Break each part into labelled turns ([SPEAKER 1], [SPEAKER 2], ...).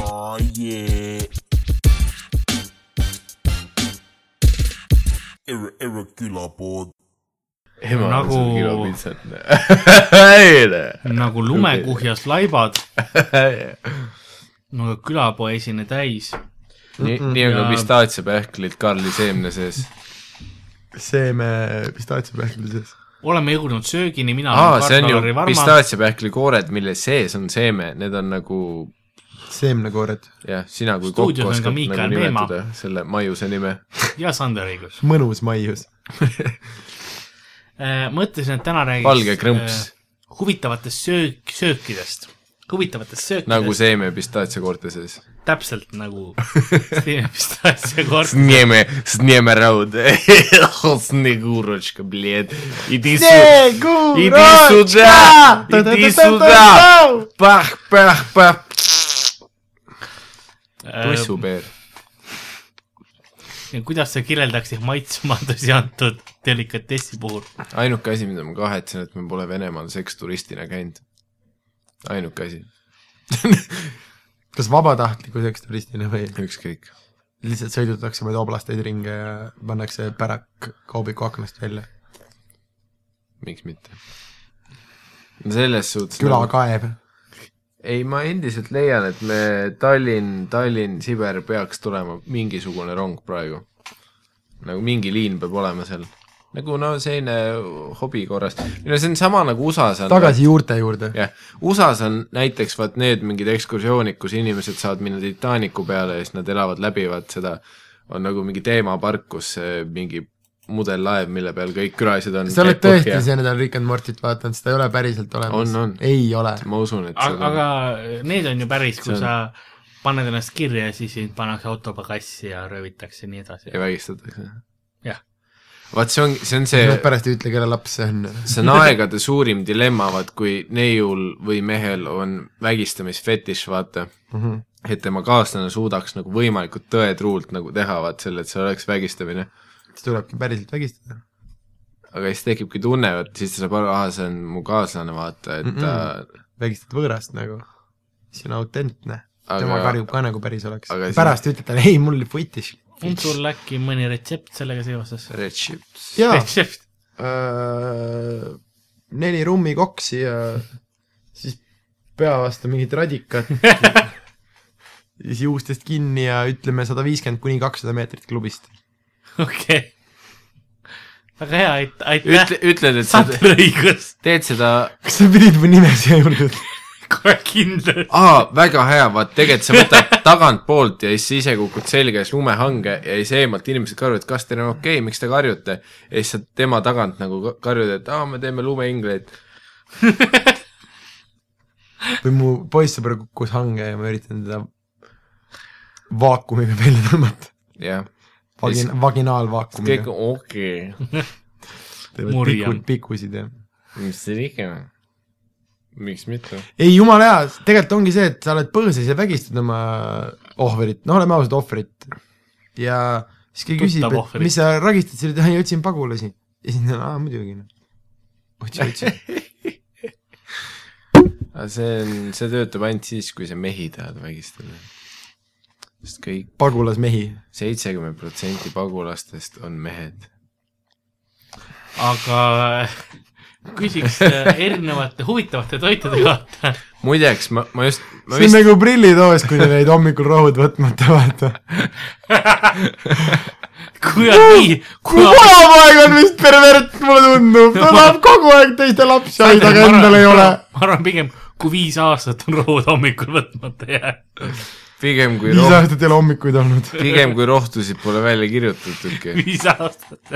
[SPEAKER 1] Oh yeah. Error, error, külapod.
[SPEAKER 2] ema
[SPEAKER 3] Nagu-
[SPEAKER 2] nagu... , see on kilopiltset .
[SPEAKER 3] nagu lumekuhjas laibad , no aga külapoe esine täis .
[SPEAKER 2] nii , nii on ka
[SPEAKER 3] Ja-
[SPEAKER 2] pistaatsiapähklid Karli seemne sees .
[SPEAKER 4] seeme pistaatsiapähkli sees .
[SPEAKER 3] oleme jõudnud söögini , mina
[SPEAKER 2] aa , see on ju
[SPEAKER 3] Karl-Lari Varma.
[SPEAKER 2] pistaatsiapähkli koored , mille sees on seeme , need on nagu
[SPEAKER 4] seemnekoored ,
[SPEAKER 2] jah , sina kui kokk
[SPEAKER 3] Stuudios on ka
[SPEAKER 2] oskad
[SPEAKER 3] Miikael
[SPEAKER 2] nagu
[SPEAKER 3] Meemaa.
[SPEAKER 2] nimetada selle maiuse nime .
[SPEAKER 3] ja Sander Õigus .
[SPEAKER 4] mõnus maius .
[SPEAKER 3] Äh, mõtlesin , et täna räägiks
[SPEAKER 2] Valge krõmps.
[SPEAKER 3] eh, huvitavatest söök , söökidest , huvitavatest söökidest
[SPEAKER 2] nagu seeme pistaatsiakoorte sees .
[SPEAKER 3] täpselt nagu teeme vist asja korda .
[SPEAKER 2] Sneme , sneme raud . Снегурочка , блед . Иди сюда, иди сюда. Пах , пах , пах .
[SPEAKER 3] Äh,
[SPEAKER 2] tussupeer .
[SPEAKER 3] kuidas sa kirjeldaksid maitsemadusi antud delikatessi puhul ?
[SPEAKER 2] ainuke asi , mida ma kahetsen , et me pole Venemaal seksturistina käinud . ainuke asi ,
[SPEAKER 4] kas vabatahtliku sekstoristina või
[SPEAKER 2] ükskõik .
[SPEAKER 4] lihtsalt sõidutakse vaid oblasteid ringi ja pannakse pärak kaubiku aknast välja ?
[SPEAKER 2] miks mitte . selles suhtes nagu-
[SPEAKER 4] küla kaeb .
[SPEAKER 2] ei , ma endiselt leian , et me Tallinn , Tallinn , Siber peaks tulema mingisugune rong praegu . nagu mingi liin peab olema seal . nagu no selline hobi korras . no see on sama nagu USA-s on .
[SPEAKER 4] tagasi juurte juurde .
[SPEAKER 2] jah , USA-s on näiteks vaat need mingid ekskursioonid , kus inimesed saavad minna Titanicu peale ja siis nad elavad , läbivad seda , on nagu mingi teemapark , kus äh, mingi mudellaev , mille peal kõik külalised on .
[SPEAKER 4] sa oled tõesti see nädal Rick and Mortit vaadanud , seda ei ole päriselt olemas
[SPEAKER 2] On, on. .
[SPEAKER 4] ei ole .
[SPEAKER 2] ma usun , et
[SPEAKER 3] aga ,
[SPEAKER 2] aga...
[SPEAKER 3] aga need on ju päris , kui
[SPEAKER 2] See on-
[SPEAKER 3] sa paned ennast kirja ja siis sind pannakse autopagassi ja röövitakse ja nii edasi .
[SPEAKER 2] ja vägistatakse .
[SPEAKER 3] Jah. .
[SPEAKER 2] vaat see on , see on see ,
[SPEAKER 4] pärast ei ütle , kelle laps see on .
[SPEAKER 2] see on aegade suurim dilemma , vaat kui neiul või mehel on vägistamisfetiš , vaata mm .
[SPEAKER 4] Mhm.
[SPEAKER 2] -hmm. et tema kaaslane suudaks nagu võimalikult tõetruult nagu teha , vaat selle , et see oleks vägistamine .
[SPEAKER 4] siis tulebki päriselt vägistada .
[SPEAKER 2] aga siis tekibki tunne , et siis ta saab aru , aa , see on mu kaaslane , vaata , et ta mm -mm.
[SPEAKER 4] vägistad võõrast nagu . see on autentne
[SPEAKER 2] Aga-
[SPEAKER 4] aga... . tema karjub ka nagu päris oleks
[SPEAKER 2] aga . siis-
[SPEAKER 4] pärast ütled talle , ei , mul oli fetiš .
[SPEAKER 3] on sul äkki mõni retsept sellega seoses ?
[SPEAKER 2] redships .
[SPEAKER 4] jaa ,
[SPEAKER 3] retsept ,
[SPEAKER 4] Äh, neli rummikoksi ja siis pea vastu mingit radikat . siis juustest kinni ja ütleme sada viiskümmend kuni kakssada meetrit klubist .
[SPEAKER 3] okei . väga hea , aitäh
[SPEAKER 2] ütle ,, ütled , et sa
[SPEAKER 3] Sander Õigus ,
[SPEAKER 2] teed seda ,
[SPEAKER 4] kas sa pidid mu nime siia juurde ütlema ?
[SPEAKER 3] kohe kindel .
[SPEAKER 2] aa , väga hea , vaat tegelikult sa võtad tagantpoolt ja siis ise kukud selga ja siis lumehange ja siis eemalt inimesed karjuvad , kas teil on okei okay, , miks te karjute . ja siis sa tema tagant nagu ka- karjud , et aa , me teeme lumeingleid .
[SPEAKER 4] või mu poissõber kukkus hange ja ma üritan teda vaakumiga välja tõmmata .
[SPEAKER 2] jah ,
[SPEAKER 4] Vagin- ,
[SPEAKER 2] kõik
[SPEAKER 4] vaginaalvaakumiga .
[SPEAKER 2] on okei okay. .
[SPEAKER 3] murjam.
[SPEAKER 4] pikud , pikusid ja .
[SPEAKER 2] mis te tegema ? miks mitte ?
[SPEAKER 4] ei , jumala hea , tegelikult ongi see , et sa oled põõsas ja vägistad oma ohvrit , no oleme ausad , ohvrit . ja siis keegi
[SPEAKER 3] Tuttav
[SPEAKER 4] küsib , et
[SPEAKER 3] ohvrit.
[SPEAKER 4] mis sa ragistad , siis ütled , ei otsin pagulasi . ja siis ta , aa muidugi noh . otsi , otsi .
[SPEAKER 2] aga see on , see töötab ainult siis , kui sa mehi tahad vägistada . sest kõik
[SPEAKER 4] pagulasmehi .
[SPEAKER 2] seitsekümmend protsenti pagulastest on mehed .
[SPEAKER 3] aga küsiks äh, erinevate huvitavate toitude kohta .
[SPEAKER 2] muideks ma , ma just , ma
[SPEAKER 4] see on
[SPEAKER 2] vist ,
[SPEAKER 4] nagu prillitoas , kui sa neid hommikul rohud võtmata vaata .
[SPEAKER 3] kui on nii , kui on
[SPEAKER 4] aeg on vist pervert , mulle tundub , ta tahab kogu aeg teiste lapsi aidata , aga endal ei ole .
[SPEAKER 3] ma arvan pigem , kui viis aastat on rohud hommikul võtmata jäänud ,
[SPEAKER 2] pigem kui
[SPEAKER 4] viis
[SPEAKER 2] roh- ,
[SPEAKER 4] aastat ei ole hommikuid olnud .
[SPEAKER 2] pigem kui rohtusid pole välja kirjutatudki .
[SPEAKER 3] viis aastat .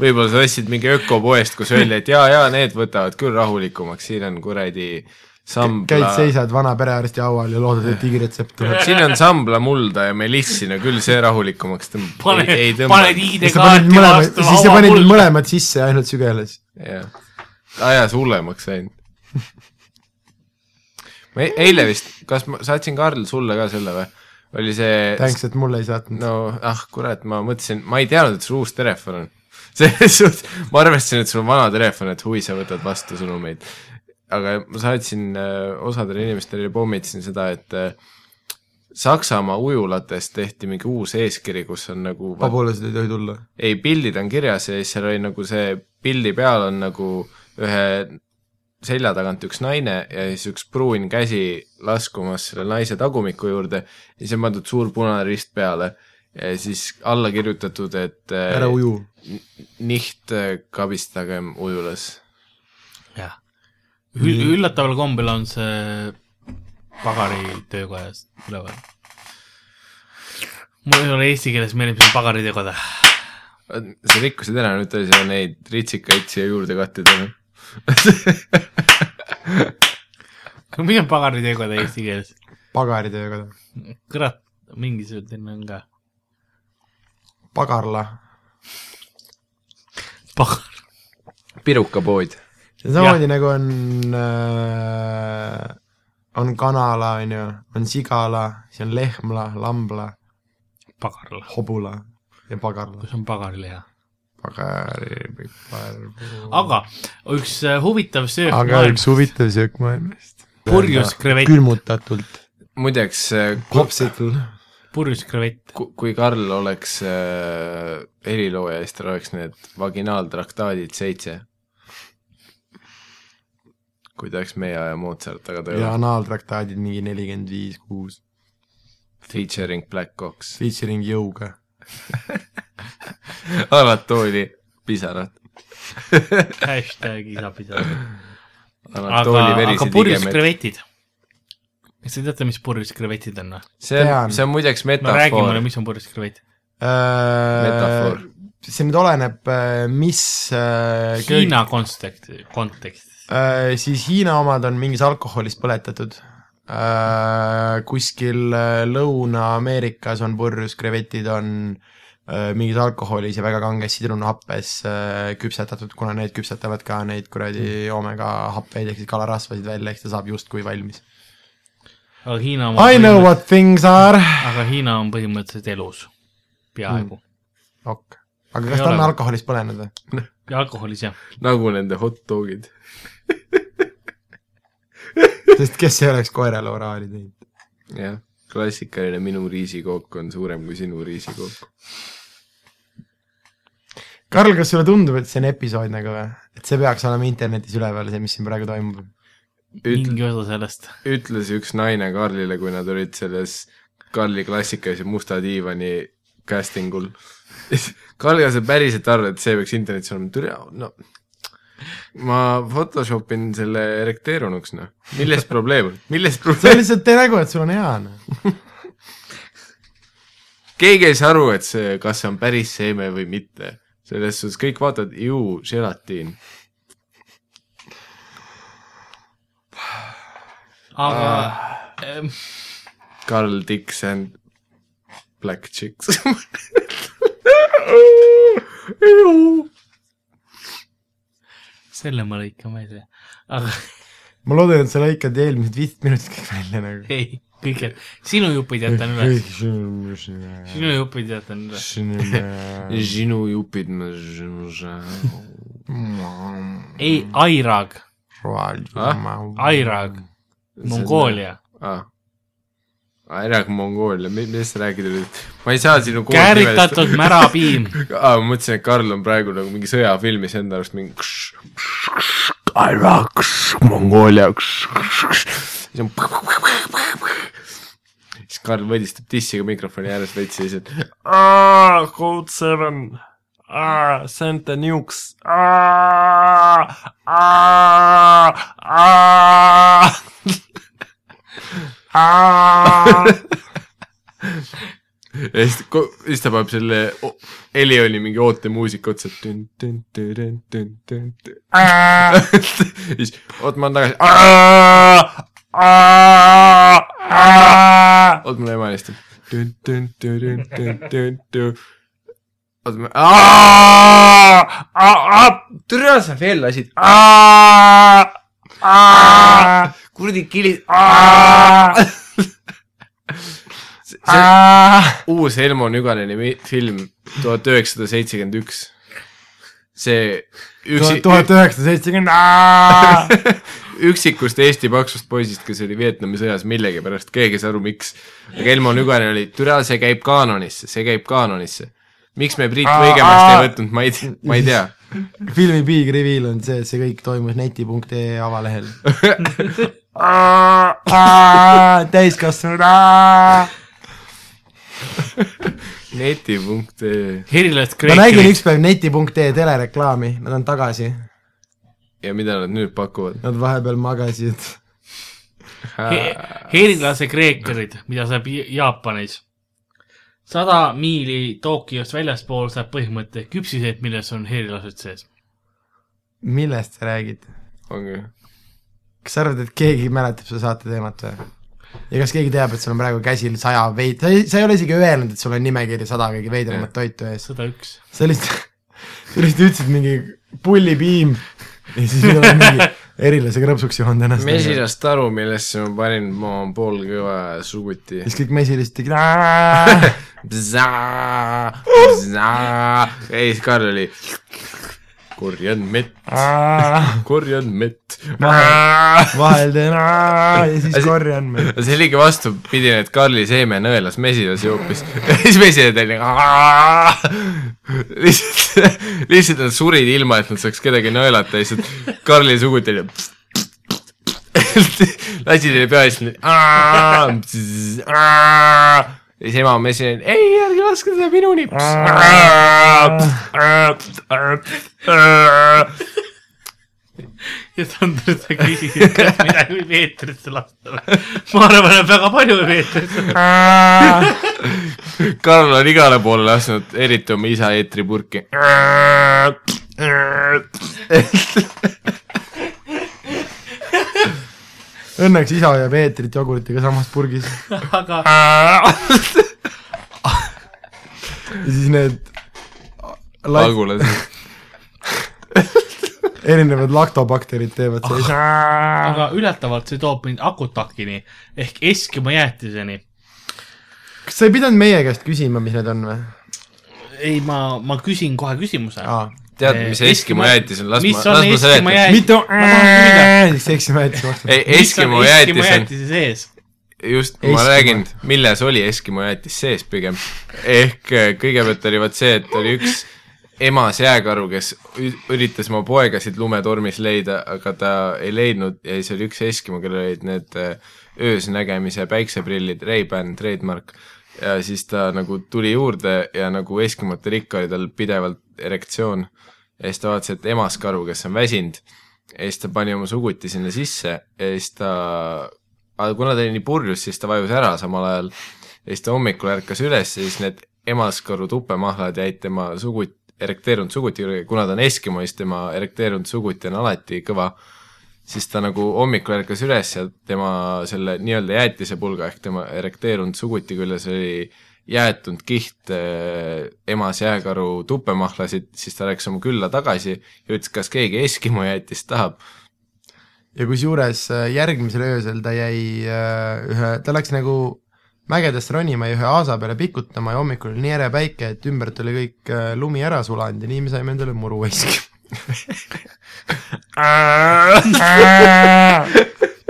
[SPEAKER 2] võib-olla sa ostsid mingi ökopoest , kus öeldi , et jaa , jaa , need võtavad küll rahulikumaks , siin on kuradi
[SPEAKER 4] käid
[SPEAKER 2] sambla ,
[SPEAKER 4] seisad vana perearsti haual ja loodad , et digiretsept tuleb .
[SPEAKER 2] siin on sambla mulda ja melissi , no küll see rahulikumaks tõmbab .
[SPEAKER 3] paned
[SPEAKER 2] ei , tõmba .
[SPEAKER 3] paned
[SPEAKER 4] siis sa
[SPEAKER 3] ID-kaarti
[SPEAKER 4] panid mõlemad ,
[SPEAKER 3] vastu
[SPEAKER 4] siis sa panid
[SPEAKER 3] hauamulda .
[SPEAKER 4] mõlemad sisse ja ainult sügeles .
[SPEAKER 2] jah , ajas hullemaks läinud . ma e- eile vist , kas ma saatsin Karl sulle ka selle või ? oli see ,
[SPEAKER 4] tänks , et mulle ei saatnud no. .
[SPEAKER 2] no ah kurat , ma mõtlesin , ma ei teadnud , et sul uus telefon on . selles suhtes , ma arvestasin , et sul on vana telefon , et huvi sa võtad vastu sõnumeid . aga ma saatsin äh, osadele inimestele ja pommitasin seda , et äh, Saksamaa ujulates tehti mingi uus eeskiri , kus on nagu ,
[SPEAKER 4] pabulased ei tohi tulla .
[SPEAKER 2] ei pildid on kirjas ja siis seal oli nagu see pildi peal on nagu ühe selja tagant üks naine ja siis üks pruun käsi laskumas selle naise tagumiku juurde ja siis on pandud suur punane rist peale ja siis alla kirjutatud , et äh,
[SPEAKER 4] ära uju .
[SPEAKER 2] nicht äh, kabistagem ujulas .
[SPEAKER 3] jah . üllataval kombel on see pagari töökojast üleval . mul ei ole eesti keeles meeldib see pagari töökoda .
[SPEAKER 2] sa rikkusid ära , nüüd oli seal neid ritsikaid siia juurde noh. kattida .
[SPEAKER 3] mis on pagari töökoda eesti keeles ?
[SPEAKER 4] pagaritööga .
[SPEAKER 3] kurat , mingisugune nimi on ka .
[SPEAKER 4] pagarla .
[SPEAKER 3] pagar .
[SPEAKER 2] pirukapood .
[SPEAKER 4] see on samamoodi nagu on äh, , on kanala , on ju , on sigala , siis on lehmla , lambla ,
[SPEAKER 3] pagarla .
[SPEAKER 4] hobula ja pagarla .
[SPEAKER 3] kus on pagariliha ?
[SPEAKER 4] pagari , pagar .
[SPEAKER 3] aga üks äh, huvitav söök .
[SPEAKER 4] aga üks . huvitav söök maailmast .
[SPEAKER 3] purjus krevett ,
[SPEAKER 4] külmutatult .
[SPEAKER 2] muideks , äh,
[SPEAKER 4] popsikl .
[SPEAKER 3] purjus krevett .
[SPEAKER 2] kui Karl oleks äh, helilooja , siis tal oleks need vaginaaltraktaadid seitse . kui ta oleks meie aja Mozart , aga ta ei
[SPEAKER 4] ja
[SPEAKER 2] ole .
[SPEAKER 4] anaaltraktaadid mingi nelikümmend viis , kuus .
[SPEAKER 2] Featuring Black Ox ,
[SPEAKER 4] featuring jõuga .
[SPEAKER 2] Anatoli pisarad .
[SPEAKER 3] hashtag isapisa .
[SPEAKER 2] Anatoli
[SPEAKER 3] aga , aga
[SPEAKER 2] verised
[SPEAKER 3] purjus
[SPEAKER 2] igemed .
[SPEAKER 3] krevetid . kas te teate , mis purjus krevetid on või ?
[SPEAKER 2] see on ,
[SPEAKER 4] Tean.
[SPEAKER 2] see on muideks
[SPEAKER 3] no räägi mulle ,
[SPEAKER 2] metafoor .
[SPEAKER 3] mis on purjus krevett .
[SPEAKER 4] metafoor
[SPEAKER 2] Metafoor. .
[SPEAKER 4] Äh, see nüüd oleneb , mis äh, köök-
[SPEAKER 3] Hiina kontekst , kontekst .
[SPEAKER 4] äh, siis Hiina omad on mingis alkoholis põletatud äh, . kuskil äh, Lõuna-Ameerikas on purjus , krevetid on äh, mingis alkoholis ja väga kanges sidrunahappes äh, küpsetatud , kuna need küpsetavad ka neid kuradi oomega happeid ehk siis kalarasvasid välja , ehk ta saab justkui valmis .
[SPEAKER 3] aga Hiina oma
[SPEAKER 4] I know what Hmm. things are .
[SPEAKER 3] aga Hiina on põhimõtteliselt elus , peaaegu .
[SPEAKER 4] ok , aga
[SPEAKER 3] Ei
[SPEAKER 4] kas ta
[SPEAKER 3] ole
[SPEAKER 4] on
[SPEAKER 3] või?
[SPEAKER 4] alkoholis põlenud või ?
[SPEAKER 3] ja alkoholis jah .
[SPEAKER 2] nagu nende hot dogid .
[SPEAKER 4] sest kes ei oleks koerale oraali teinud ?
[SPEAKER 2] jah , klassikaline minu riisikook on suurem kui sinu riisikook .
[SPEAKER 4] Karl , kas sulle tundub , et see on episood nagu või ? et see peaks olema internetis üleval , see , mis siin praegu toimub ?
[SPEAKER 2] Ütle ,
[SPEAKER 3] mingi osa sellest .
[SPEAKER 2] ütles üks naine Karlile , kui nad olid selles Karli klassikas ja Musta diivani casting ul . Karl , kas sa päriselt arvad , et see peaks internetis olema ? tule , no ma Photoshop in selle erekteerunuks , noh . milles probleem on ? milles
[SPEAKER 4] see on
[SPEAKER 2] probleem ?
[SPEAKER 4] lihtsalt tee nägu , et sul on hea , noh .
[SPEAKER 2] keegi ei saa aru , et see , kas see on päris seeme või mitte . selles suhtes kõik vaatavad , ju , želatiin .
[SPEAKER 3] aga
[SPEAKER 4] Ah.
[SPEAKER 3] ähm,
[SPEAKER 2] Karl Dix and Black Chicks .
[SPEAKER 3] selle ma lõikan välja . aga
[SPEAKER 4] ma loodan , et sa lõikad eelmised viisteist minutit kõik välja nagu .
[SPEAKER 3] ei , kõik jääb , sinu jupid jätan üles , sinu jupid jätan üles .
[SPEAKER 2] sinu jupid , ma sinu saa .
[SPEAKER 3] ei , Airag , Airag ,
[SPEAKER 4] Hmm.
[SPEAKER 3] Mongoolia ,
[SPEAKER 2] ah. . Ah, ära kui Mongoolia , millest sa räägid nüüd ? ma ei saa sinu
[SPEAKER 3] e kääritatud märapiim .
[SPEAKER 2] ah, . ma mõtlesin , et Karl on praegu nagu mingi sõjafilmis enda arust mingi . ära , Mongoolia . siis on . siis Karl võdistab tissiga mikrofoni ääres veits ja siis , et
[SPEAKER 5] Ah, Code 7. Ah, send the nukes. Ah, ah, ah. ah.
[SPEAKER 2] ja siis , siis ta paneb selle oh, o- Elioni mingi ootemuusika otsa . siis , oot ma olen tagasi ,
[SPEAKER 5] ah, ah, ah.
[SPEAKER 2] oot mul ema helistab . oot ma ,
[SPEAKER 5] Ah, ah,
[SPEAKER 2] türa sa veel lasid ,
[SPEAKER 5] ah, ah,
[SPEAKER 2] kuradi kili ,
[SPEAKER 5] ah,
[SPEAKER 2] see
[SPEAKER 5] ah.
[SPEAKER 2] uus Elmo Nüganeni mi- film tuhat üheksasada seitsekümmend üks . see üksi ,
[SPEAKER 4] tuhat Ah! üheksasada
[SPEAKER 5] Ah.
[SPEAKER 4] seitsekümmend .
[SPEAKER 2] üksikust Eesti paksust poisist , kes oli Vietnami sõjas millegipärast , keegi ei saa aru , miks . aga Elmo Nügane oli , türa , see käib kaanonisse , see käib kaanonisse . miks me Priit Võigemast ei võtnud , ma ei tea , ma ei tea .
[SPEAKER 4] filmi big reveal on see , et see kõik toimus neti.ee avalehel Ah! täiskasvanud . Ah!
[SPEAKER 2] neti.ee
[SPEAKER 3] Herilast
[SPEAKER 4] ma nägin
[SPEAKER 3] Kreekile ,
[SPEAKER 4] ükspäev neti.ee telereklaami , nad on tagasi ,
[SPEAKER 2] ja mida nad nüüd pakuvad ?
[SPEAKER 4] nad vahepeal magasid .
[SPEAKER 3] herilase kreekerid , mida saab Ja- Jaapanis . sada miili Tokyost väljaspool saab põhimõte küpsiseid , milles on herilased sees .
[SPEAKER 4] millest sa räägid ?
[SPEAKER 2] ongi .
[SPEAKER 4] kas sa arvad , et keegi mäletab seda saate teemat või ? ja kas keegi teab , et sul on praegu käsil saja veid- , sa ei , sa ei ole isegi öelnud , et sul on nimekiri sada kõige veidramat toitu ees .
[SPEAKER 3] sada üks .
[SPEAKER 4] sa lihtsalt , sa lihtsalt ütlesid mingi pullipiim ja siis minul on mingi erilase krõpsuks joon tänast . ja
[SPEAKER 2] mesilast aru , millesse ma panin , ma olen poolkõva suguti .
[SPEAKER 4] siis kõik mesilased tegid aa-
[SPEAKER 2] ei , Karl oli korjan mett ,
[SPEAKER 4] aa-
[SPEAKER 2] korjan mett .
[SPEAKER 4] vahel , vahel teen aa- ja siis korjan me .
[SPEAKER 2] see oligi vastupidine , et Karli seeme nõelas mesilasi hoopis . siis mesilased olid nagu lihtsalt , lihtsalt nad surid ilma , et nad saaks kedagi nõelata , lihtsalt Karli suguti oli lasi neile pea ja siis nad ja siis ema mesilane , ei ärge laske seda minuni .
[SPEAKER 3] ja Sandrit sa küsisid , kas midagi võib eetrisse lasta või ? ma arvan , et väga palju võib eetrisse lasta .
[SPEAKER 2] Karl on igale poole lasknud , eriti oma isa eetripurki .
[SPEAKER 4] õnneks isa hoiab eetrit jogurtiga samas purgis ja
[SPEAKER 3] aga
[SPEAKER 4] siis need lait-
[SPEAKER 2] pagulased .
[SPEAKER 4] erinevad laktobakterid teevad sellise
[SPEAKER 3] aga üllatavalt see toob mind akutakini ehk Eskima jäätiseni . Ah.
[SPEAKER 4] kas sa ei pidanud meie käest küsima , mis need on või ?
[SPEAKER 3] ei , ma , ma küsin kohe küsimuse .
[SPEAKER 2] tead , mis Eskimo jäätis on , las ma , las ma seletan .
[SPEAKER 4] mitu
[SPEAKER 3] jäätis ?
[SPEAKER 4] siis eksime ette vastu .
[SPEAKER 2] ei , Eskimo jäätis on
[SPEAKER 3] jäätise sees .
[SPEAKER 2] just , ma
[SPEAKER 4] Eskimo.
[SPEAKER 2] räägin , milles oli Eskimo jäätis sees pigem . ehk eh, kõigepealt oli vot see , et oli üks emas jääkaru , kes ü- üritas oma poegasid lumetormis leida , aga ta ei leidnud ja siis oli üks Eskimo , kellel olid need eh, öösnägemise päikseprillid , Ray-Ban , trademark . ja siis ta nagu tuli juurde ja nagu Eskimote rikka oli tal pidevalt erektsioon . ja siis ta vaatas , et emas karu , kes on väsinud , ja siis ta pani oma suguti sinna sisse ja siis ta aga kuna ta oli nii purjus , siis ta vajus ära samal ajal . ja siis ta hommikul ärkas üles ja siis need emaskaru tupemahlad jäid tema sugut- , erekteerunud suguti juurde , kuna ta on Eskimo , siis tema erekteerunud suguti on alati kõva . siis ta nagu hommikul ärkas üles ja tema selle nii-öelda jäätisepulga ehk tema erekteerunud suguti küljes oli jäetunud kiht eh, emas jääkaru tupemahlasid , siis ta läks oma külla tagasi ja ütles , kas keegi Eskimo jäätist tahab .
[SPEAKER 4] ja kusjuures äh, järgmisel öösel ta jäi äh, ühe , ta läks nagu mägedest ronima ja ühe aasa peale pikutama ja hommikul oli nii ere päike , et ümbert oli kõik äh, lumi ära sulanud ja nii me saime endale muruvõisk .
[SPEAKER 5] Ah.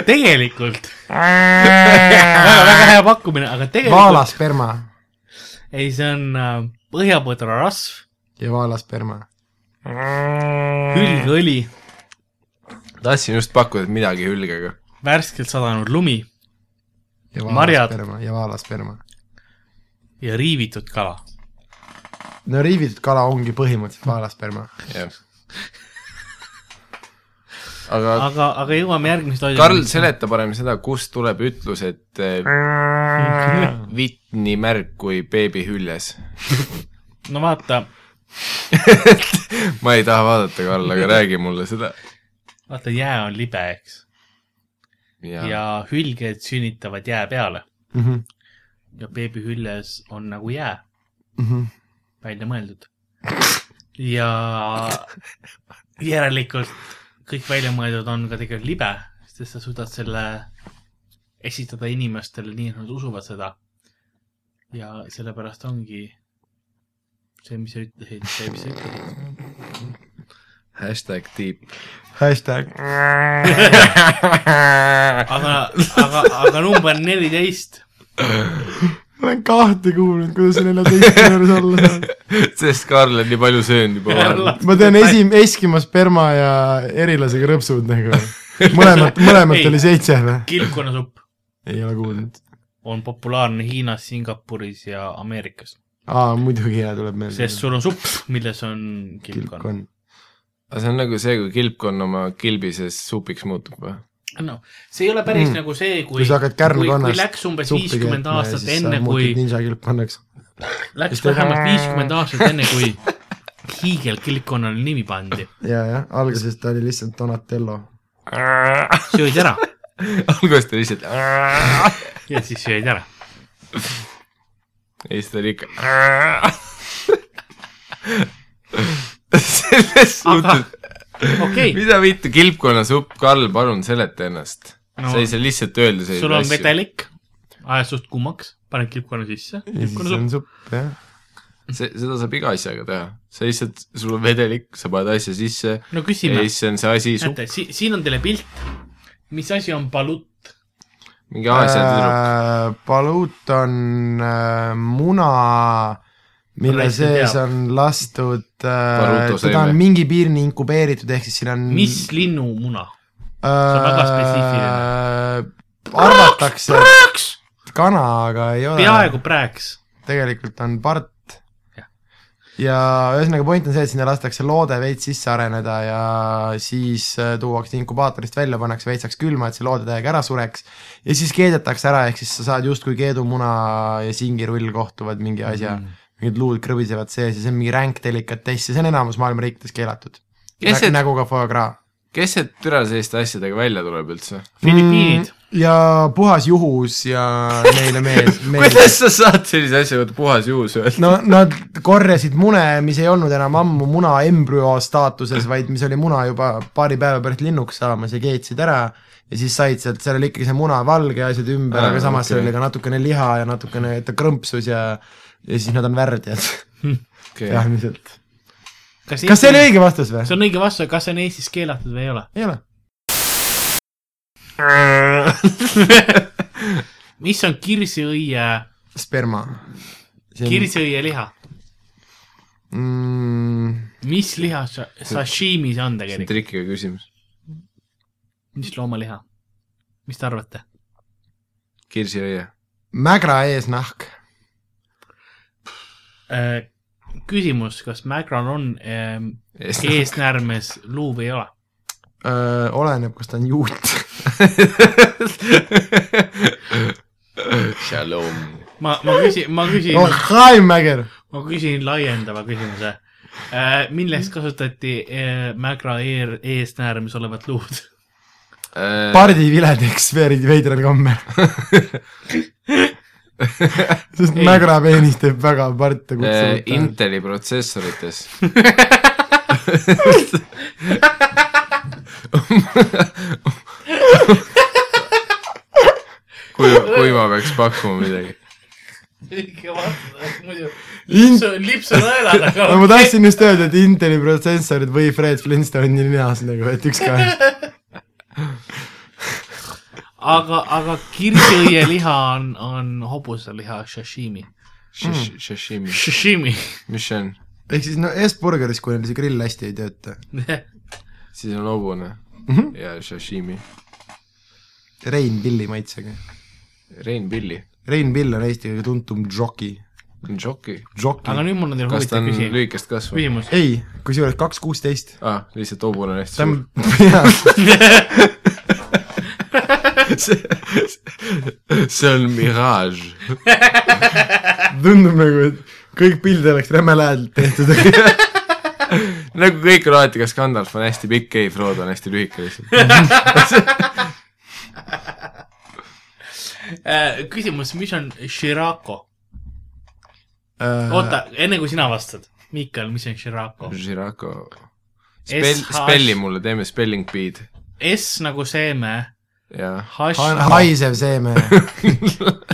[SPEAKER 3] tegelikult . väga , väga hea pakkumine , aga tegelikult .
[SPEAKER 4] vaalasperma
[SPEAKER 3] ei , see on äh, põhjapõdrarasv ,
[SPEAKER 4] ja vaalasperma .
[SPEAKER 3] hülgeõli ,
[SPEAKER 2] tahtsin just pakkuda , et midagi hülgega
[SPEAKER 3] värskelt sadanud lumi
[SPEAKER 4] ja
[SPEAKER 3] Marjad.
[SPEAKER 4] vaalasperma ja vaalasperma .
[SPEAKER 3] ja riivitud kala .
[SPEAKER 4] no riivitud kala ongi põhimõtteliselt vaalasperma .
[SPEAKER 2] jah . aga
[SPEAKER 3] aga , aga jõuame järgmise toidu .
[SPEAKER 2] Karl , seleta parem seda , kust tuleb ütlus , et eh, vitt nii märg kui beebi hüljes .
[SPEAKER 3] no vaata ,
[SPEAKER 2] ma ei taha vaadata , Karl , aga räägi mulle seda .
[SPEAKER 3] vaata jää on libe , eks .
[SPEAKER 2] ja ,
[SPEAKER 3] ja hülged sünnitavad jää peale
[SPEAKER 4] ja
[SPEAKER 3] ja beebihüljes on nagu jää
[SPEAKER 4] Mhm.
[SPEAKER 3] välja mõeldud . ja järelikult kõik väljamõeldud on ka tegelikult libe , sest sa suudad selle esitada inimestele nii , et nad usuvad seda . ja sellepärast ongi see , mis sa ütlesid , see , mis sa ütlesid .
[SPEAKER 2] hashtag deep .
[SPEAKER 4] hashtag .
[SPEAKER 3] aga , aga , aga number neliteist ,
[SPEAKER 4] ma olen kahte kuulnud , kuidas neljateist juures olla saab .
[SPEAKER 2] sest Karl on nii palju söönud juba vahel .
[SPEAKER 4] ma tean esi- , Eskima sperma ja erilasega rõpsud nagu . mõlemat , mõlemat
[SPEAKER 3] Ei.
[SPEAKER 4] oli seitse või ?
[SPEAKER 3] kilpkonnasupp
[SPEAKER 4] ei ole kuulnud .
[SPEAKER 3] on populaarne Hiinas , Singapuris ja Ameerikas ,
[SPEAKER 4] aa , muidugi hea tuleb meelde .
[SPEAKER 3] sest sul on supp , milles on kilpkonn .
[SPEAKER 4] kilpkonn .
[SPEAKER 2] aga see on nagu see , kui kilpkonn oma kilbises supiks muutub või ?
[SPEAKER 3] no see ei ole päris
[SPEAKER 4] Mm.
[SPEAKER 3] mm. nagu see , kui
[SPEAKER 4] kui sa hakkad
[SPEAKER 3] kui, kui
[SPEAKER 4] kärnkonnast
[SPEAKER 3] läks umbes viiskümmend aastat enne , kui ,
[SPEAKER 4] ninja kilpkonnaks .
[SPEAKER 3] läks
[SPEAKER 4] siis ta-
[SPEAKER 3] vähemalt viiskümmend aastat enne , kui hiigelkilpkonnale nimi pandi ,
[SPEAKER 4] ja , jah , alguses ta oli lihtsalt Donatello .
[SPEAKER 3] söödi ära
[SPEAKER 2] alguses ta lihtsalt ja
[SPEAKER 3] ja siis söödi ära .
[SPEAKER 2] siis ta oli ikka . selles
[SPEAKER 3] aga
[SPEAKER 2] suhtes ,
[SPEAKER 3] okei okay, ,
[SPEAKER 2] mida vittu kilpkonnasupp , Karl , palun seleta ennast no, .
[SPEAKER 3] No.
[SPEAKER 2] sa ei saa lihtsalt öelda
[SPEAKER 3] sul on
[SPEAKER 2] selliseid asju .
[SPEAKER 3] vedelik , ajad suht kuumaks , paned kilpkonna sisse , kilpkonna supp
[SPEAKER 4] see on , supp , jah .
[SPEAKER 2] see , seda saab iga asjaga teha . sa lihtsalt , sul on vedelik , sa paned asja sisse
[SPEAKER 3] no
[SPEAKER 2] ja
[SPEAKER 3] küsime ,
[SPEAKER 2] siis on see asi supp ,
[SPEAKER 3] näete , si- , siin on teile pilt , mis asi on balut ,
[SPEAKER 2] mingi Aasia tüdruk .
[SPEAKER 4] Baluut on äh, muna , mille
[SPEAKER 3] Raisk
[SPEAKER 4] sees
[SPEAKER 3] teab.
[SPEAKER 4] on lastud äh,
[SPEAKER 2] Baruto ,
[SPEAKER 4] teda on
[SPEAKER 2] seeme.
[SPEAKER 4] mingi piirini inkubeeritud , ehk siis siin on
[SPEAKER 3] mis linnumuna ?
[SPEAKER 4] see
[SPEAKER 3] on väga spetsiifiline.
[SPEAKER 4] arvatakse , et kana , aga ei ole .
[SPEAKER 3] peaaegu praeks ,
[SPEAKER 4] tegelikult on part
[SPEAKER 3] Jah. .
[SPEAKER 4] ja ühesõnaga point on see , et sinna lastakse loode veits sisse areneda ja siis äh, tuuakse inkubaatorist välja , pannakse veitsaks külma , et see loodetäiega ära sureks ja siis keedetakse ära , ehk siis sa saad justkui keedumuna ja singirull kohtuvad mingi asja mm. , mingid luud krõbisevad sees ja see on mingi ränk delikatess ja see on enamus maailma riikides keelatud .
[SPEAKER 2] Kes see-
[SPEAKER 4] nagu ka foie gras .
[SPEAKER 2] kes see türa selliste asjadega välja tuleb üldse ?
[SPEAKER 3] Filipiinid ,
[SPEAKER 4] Mm, ja puhas juhus ja neile mees , mees
[SPEAKER 2] kuidas sa saad sellise asja kohta puhas juhus öelda ?
[SPEAKER 4] no nad korjasid mune , mis ei olnud enam ammu muna embrüo staatuses , vaid mis oli muna juba paari päeva pärast linnuks saamas ja keetsid ära ja siis said sealt , seal oli ikkagi see muna valge ja asjad ümber ,
[SPEAKER 2] Aa,
[SPEAKER 4] aga samas okay. seal
[SPEAKER 2] okei.
[SPEAKER 4] oli ka natukene liha ja natukene , et ta krõmpsus ja ja siis nad on värdjad
[SPEAKER 2] Okay.
[SPEAKER 4] peamiselt . kas see oli ? õige vastus või ?
[SPEAKER 3] see on õige vastus , kas see on Eestis keelatud või ei ole ?
[SPEAKER 4] ei ole .
[SPEAKER 3] mis on kirsiõie ,
[SPEAKER 4] sperma .
[SPEAKER 3] kirsiõie liha ?
[SPEAKER 4] mm, .
[SPEAKER 3] mis liha sa- sashimi see on tegelikult ,
[SPEAKER 2] trikiga küsimus .
[SPEAKER 3] mis loomaliha ? mis te arvate ?
[SPEAKER 2] kirsiõie .
[SPEAKER 4] mägra eesnahk .
[SPEAKER 3] Äh, küsimus , kas mägral on ähm, eesnäärmes luu või ei ole ?
[SPEAKER 4] oleneb , kas ta on juut .
[SPEAKER 2] Shalom .
[SPEAKER 3] ma , ma küsin , ma küsin
[SPEAKER 4] oh , Heimmäger .
[SPEAKER 3] ma küsin laiendava küsimuse . milleks kasutati äh, Mägra eer- , eesnäärmes olevat luud ?
[SPEAKER 4] pardiviledeks veerid veidral kombel . sest
[SPEAKER 3] Ei.
[SPEAKER 4] Mägra peenis teeb väga parte kutsumata Äh, In... .
[SPEAKER 2] Äh, Inteli protsessorites kui , kui ma peaks pakkuma midagi .
[SPEAKER 3] õige vastus , muidu
[SPEAKER 4] In...
[SPEAKER 3] lips on õelal , aga
[SPEAKER 4] no ma tahtsin just öelda , et Inteli protsessorid või Fred Flintstoni ninaas nagu , et üks ka .
[SPEAKER 3] aga , aga kirsiõie liha on , on hobuseliha sashimi .
[SPEAKER 2] Sashimi ,
[SPEAKER 3] Sashimi .
[SPEAKER 2] mis see on ?
[SPEAKER 4] ehk siis no S-burgeris , kui neil see grill hästi ei tööta .
[SPEAKER 2] siis on hobune
[SPEAKER 4] Mhm.
[SPEAKER 2] ja sashimi .
[SPEAKER 4] Rein Pilli maitsega .
[SPEAKER 2] Rein Pilli ,
[SPEAKER 4] Rein Pill on Eesti kõige tuntum džoki .
[SPEAKER 2] Njoki .
[SPEAKER 3] aga
[SPEAKER 4] džoki .
[SPEAKER 3] nüüd mul on teile
[SPEAKER 2] kas ta
[SPEAKER 3] huvitav
[SPEAKER 2] on
[SPEAKER 3] küsimus ,
[SPEAKER 2] lühikest kasvu ?
[SPEAKER 3] küsimus .
[SPEAKER 4] ei , kusjuures kaks kuusteist .
[SPEAKER 2] ah , lihtsalt hobune on hästi
[SPEAKER 4] ta
[SPEAKER 2] suur
[SPEAKER 4] on . peaaegu
[SPEAKER 2] see on miraaž .
[SPEAKER 4] tundub nagu , et kõik pildid oleks räme lähedalt tehtud , aga
[SPEAKER 2] nagu kõik on alati , kas Gandalf on hästi pikk , ei , Frodo on hästi lühike lihtsalt .
[SPEAKER 3] Äh, küsimus , mis on shirako ?
[SPEAKER 4] äh,
[SPEAKER 3] oota , enne kui sina vastad , Miikal , mis on shirako ?
[SPEAKER 2] Žirako .
[SPEAKER 3] SH-
[SPEAKER 2] Spell , spelli mulle , teeme spelling bee'd .
[SPEAKER 3] S nagu seeme ,
[SPEAKER 2] jah .
[SPEAKER 3] Hash ,
[SPEAKER 4] haisev seeme ,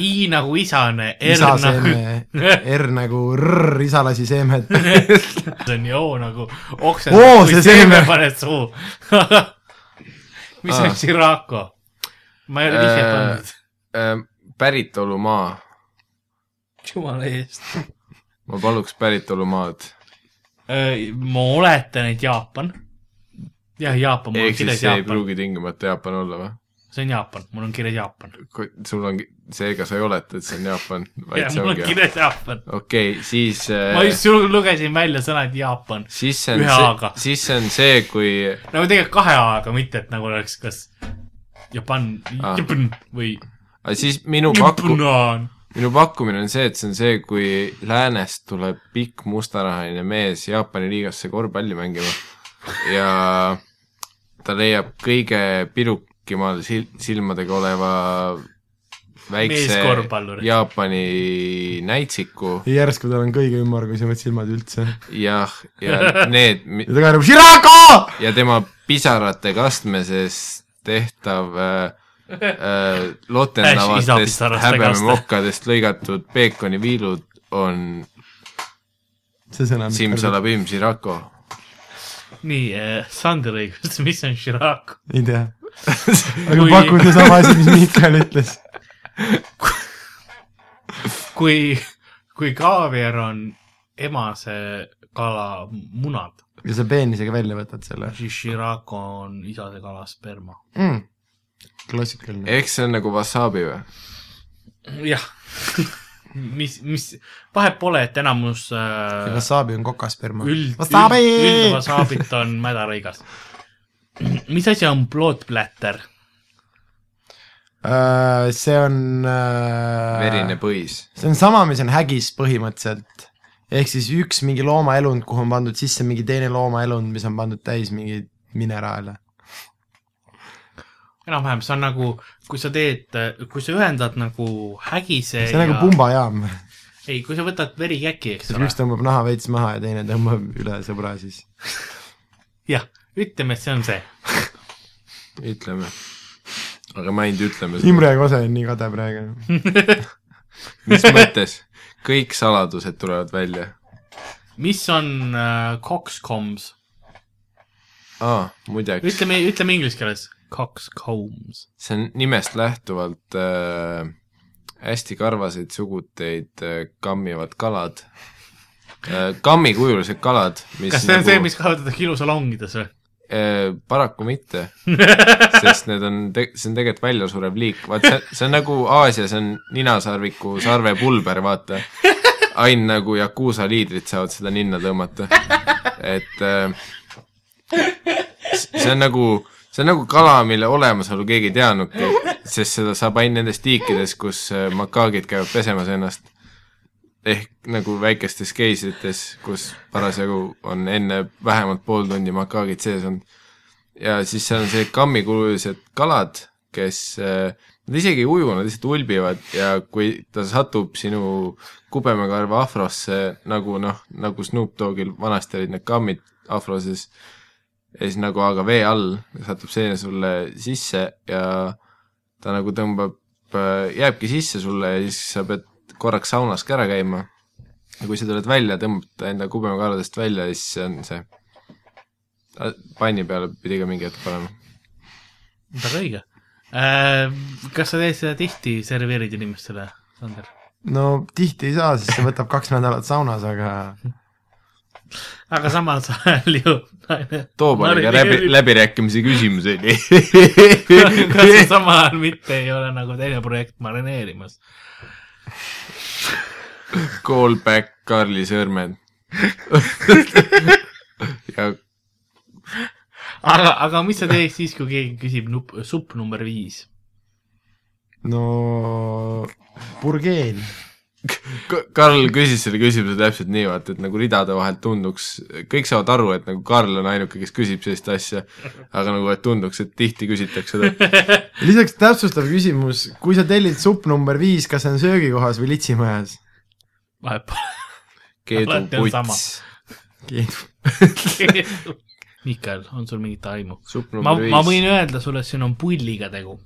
[SPEAKER 3] I nagu isane , R
[SPEAKER 4] isa
[SPEAKER 3] nagu ,
[SPEAKER 4] seeme , R nagu rrr , isalasi seemed .
[SPEAKER 3] see on ju O nagu oksen .
[SPEAKER 4] Oo, see seeme.
[SPEAKER 3] paned suhu . mis
[SPEAKER 2] Aa.
[SPEAKER 3] on Chiraco ? ma ei ole vihjet
[SPEAKER 2] Ah. Äh.
[SPEAKER 3] pannud .
[SPEAKER 2] päritolumaa ,
[SPEAKER 3] jumala eest .
[SPEAKER 2] ma paluks päritolumaad .
[SPEAKER 3] Äh, ma oletan , et Jaapan . jah , Jaapan , mul on
[SPEAKER 2] ehk siis
[SPEAKER 3] kirjas
[SPEAKER 2] see ei
[SPEAKER 3] Jaapan .
[SPEAKER 2] pruugi tingimata Jaapan olla või ?
[SPEAKER 3] see on Jaapan , mul on kirjas Jaapan .
[SPEAKER 2] sul on , seega sa ei oleta , et see on Jaapan , vaid
[SPEAKER 3] jah ,
[SPEAKER 2] see
[SPEAKER 3] mul on
[SPEAKER 2] ongi Jaapan .
[SPEAKER 3] kirjas Jaapan .
[SPEAKER 2] okei okay, , siis äh,
[SPEAKER 3] ma just sul- lugesin välja sõnad Jaapan .
[SPEAKER 2] siis see on
[SPEAKER 3] ühe
[SPEAKER 2] see
[SPEAKER 3] A-ga. ,
[SPEAKER 2] siis see on see , kui
[SPEAKER 3] nagu tegelikult kahe A-ga , mitte et nagu oleks kas Jaapan
[SPEAKER 2] Ah. ,
[SPEAKER 3] Jaapan või
[SPEAKER 2] aga siis minu pakku- ,
[SPEAKER 3] Jaapan .
[SPEAKER 2] minu pakkumine on see , et see on see , kui läänest tuleb pikk mustanahaline mees Jaapani liigasse korvpalli mängima ja ta leiab kõige pirukimal sil- , silmadega oleva väikse
[SPEAKER 3] Meeskorvpalluri.
[SPEAKER 2] Jaapani näitsiku
[SPEAKER 4] järsku tal on kõige ümmargusemad silmad üldse .
[SPEAKER 2] jah , ja need ,
[SPEAKER 4] ja ta karjub Shirako !
[SPEAKER 2] ja tema pisarate kastmeses tehtav äh, äh,
[SPEAKER 3] Äsch, isa
[SPEAKER 2] lotendavatest
[SPEAKER 3] pisaraste
[SPEAKER 2] häbememokkadest lõigatud peekoniviilud on
[SPEAKER 4] see sõna .
[SPEAKER 2] Simsalabim Sirako .
[SPEAKER 3] nii , Sander õigus , mis on Chiraco ?
[SPEAKER 4] ei tea . aga
[SPEAKER 3] Kui-
[SPEAKER 4] Kui... pakun sedasama asja , mis Mihkel ütles .
[SPEAKER 3] kui , kui kaaviar on emase kala munad ,
[SPEAKER 4] ja sa peenisega välja võtad selle
[SPEAKER 3] siis Chiraco on isase kala sperma .
[SPEAKER 4] mm. . klassikaline .
[SPEAKER 2] eks see on nagu wasabi või ?
[SPEAKER 3] jah , mis , mis , vahet pole , et enamus äh,
[SPEAKER 4] Wasabi on kokasperma .
[SPEAKER 3] üld ,
[SPEAKER 4] Wasabi !
[SPEAKER 3] üldvasabit on mädarõigas . mis asi on blood platter ?
[SPEAKER 4] see on äh...
[SPEAKER 2] verine põis .
[SPEAKER 4] see on sama , mis on hägis põhimõtteliselt . ehk siis üks mingi loomaelund , kuhu on pandud sisse mingi teine loomaelund , mis on pandud täis mingeid mineraale .
[SPEAKER 3] enam-vähem , see on nagu , kui sa teed , kui sa ühendad nagu hägise
[SPEAKER 4] see on nagu pumbajaam .
[SPEAKER 3] ei , kui sa võtad verikäki , eks ole
[SPEAKER 4] üks , tõmbab naha veits maha ja teine tõmbab üle sõbra siis .
[SPEAKER 3] jah , ütleme , et see on see .
[SPEAKER 2] ütleme . aga ma ainult ütleme seda .
[SPEAKER 4] Imre Kose on nii kade praegu .
[SPEAKER 2] mis mõttes ? kõik saladused tulevad välja .
[SPEAKER 3] mis on äh, coxcombs ?
[SPEAKER 2] aa , muideks ,
[SPEAKER 3] ütleme , ütleme inglise keeles . coxcombs .
[SPEAKER 2] see on nimest lähtuvalt äh, hästi karvaseid suguteid äh, kammivad kalad äh, . kammikujulised kalad , mis nagu
[SPEAKER 3] kas see on see , mis nagu- kasutatakse ilusalongides või ?
[SPEAKER 2] Äh, paraku mitte , sest need on , see on tegelikult väljasurev liik , vaat see , see on nagu Aasias on ninasarviku sarvepulber , vaata . ainult nagu Yakuusa liidrid saavad seda ninna tõmmata . et äh, s- see on nagu , see on nagu kala , mille olemasolu keegi ei teadnudki , sest seda saab ainult nendes tiikides , kus äh, makaagid käivad pesemas ennast ehk nagu väikestes keisrites , kus parasjagu on enne vähemalt pool tundi makaagid sees olnud . ja siis seal on see kammikululised kalad , kes , nad isegi ei uju , nad lihtsalt ulbivad ja kui ta satub sinu kubemekarva afrosse nagu noh , nagu Snoop Doggil vanasti olid need kammid afroses , ja siis nagu aga vee all satub seene sulle sisse ja ta nagu tõmbab , jääbki sisse sulle ja siis sa pead korraks saunas ka ära käima . ja kui sa tuled välja , tõmbad ta enda kubemekarvadest välja ja siis see on see . panni peale pidi ka mingi hetk panema .
[SPEAKER 3] väga õige äh, . kas sa teed seda tihti , serveerid inimestele , Sander ?
[SPEAKER 4] no tihti ei saa , sest see võtab kaks nädalat saunas , aga
[SPEAKER 3] aga samas ajal ju naine
[SPEAKER 2] Toobaliga läbi ,
[SPEAKER 3] marineerib-
[SPEAKER 2] läbirääkimise küsimus oli .
[SPEAKER 3] kas sa samal ajal mitte ei ole nagu teine projekt marineerimas ?
[SPEAKER 2] Call back Karli sõrmed ja
[SPEAKER 3] aga , aga mis sa teeks siis , kui keegi küsib nupp , supp number viis ?
[SPEAKER 4] no burgeel .
[SPEAKER 2] K- Karl küsis selle küsimuse täpselt nii , vaata , et nagu ridade vahelt tunduks , kõik saavad aru , et nagu Karl on ainuke , kes küsib sellist asja , aga nagu , et tunduks , et tihti küsitakse seda .
[SPEAKER 4] lisaks täpsustav küsimus , kui sa tellid supp number viis , kas see on söögikohas või litsimajas ?
[SPEAKER 3] vahet
[SPEAKER 2] Keedu
[SPEAKER 3] Alati on sama.
[SPEAKER 2] puts ,
[SPEAKER 3] pole . Mikael , on sul mingit aimu ?
[SPEAKER 2] supp
[SPEAKER 3] ma ,
[SPEAKER 2] number
[SPEAKER 3] ma võin
[SPEAKER 2] viis ,
[SPEAKER 3] öelda sulle , et siin on pulliga tegu .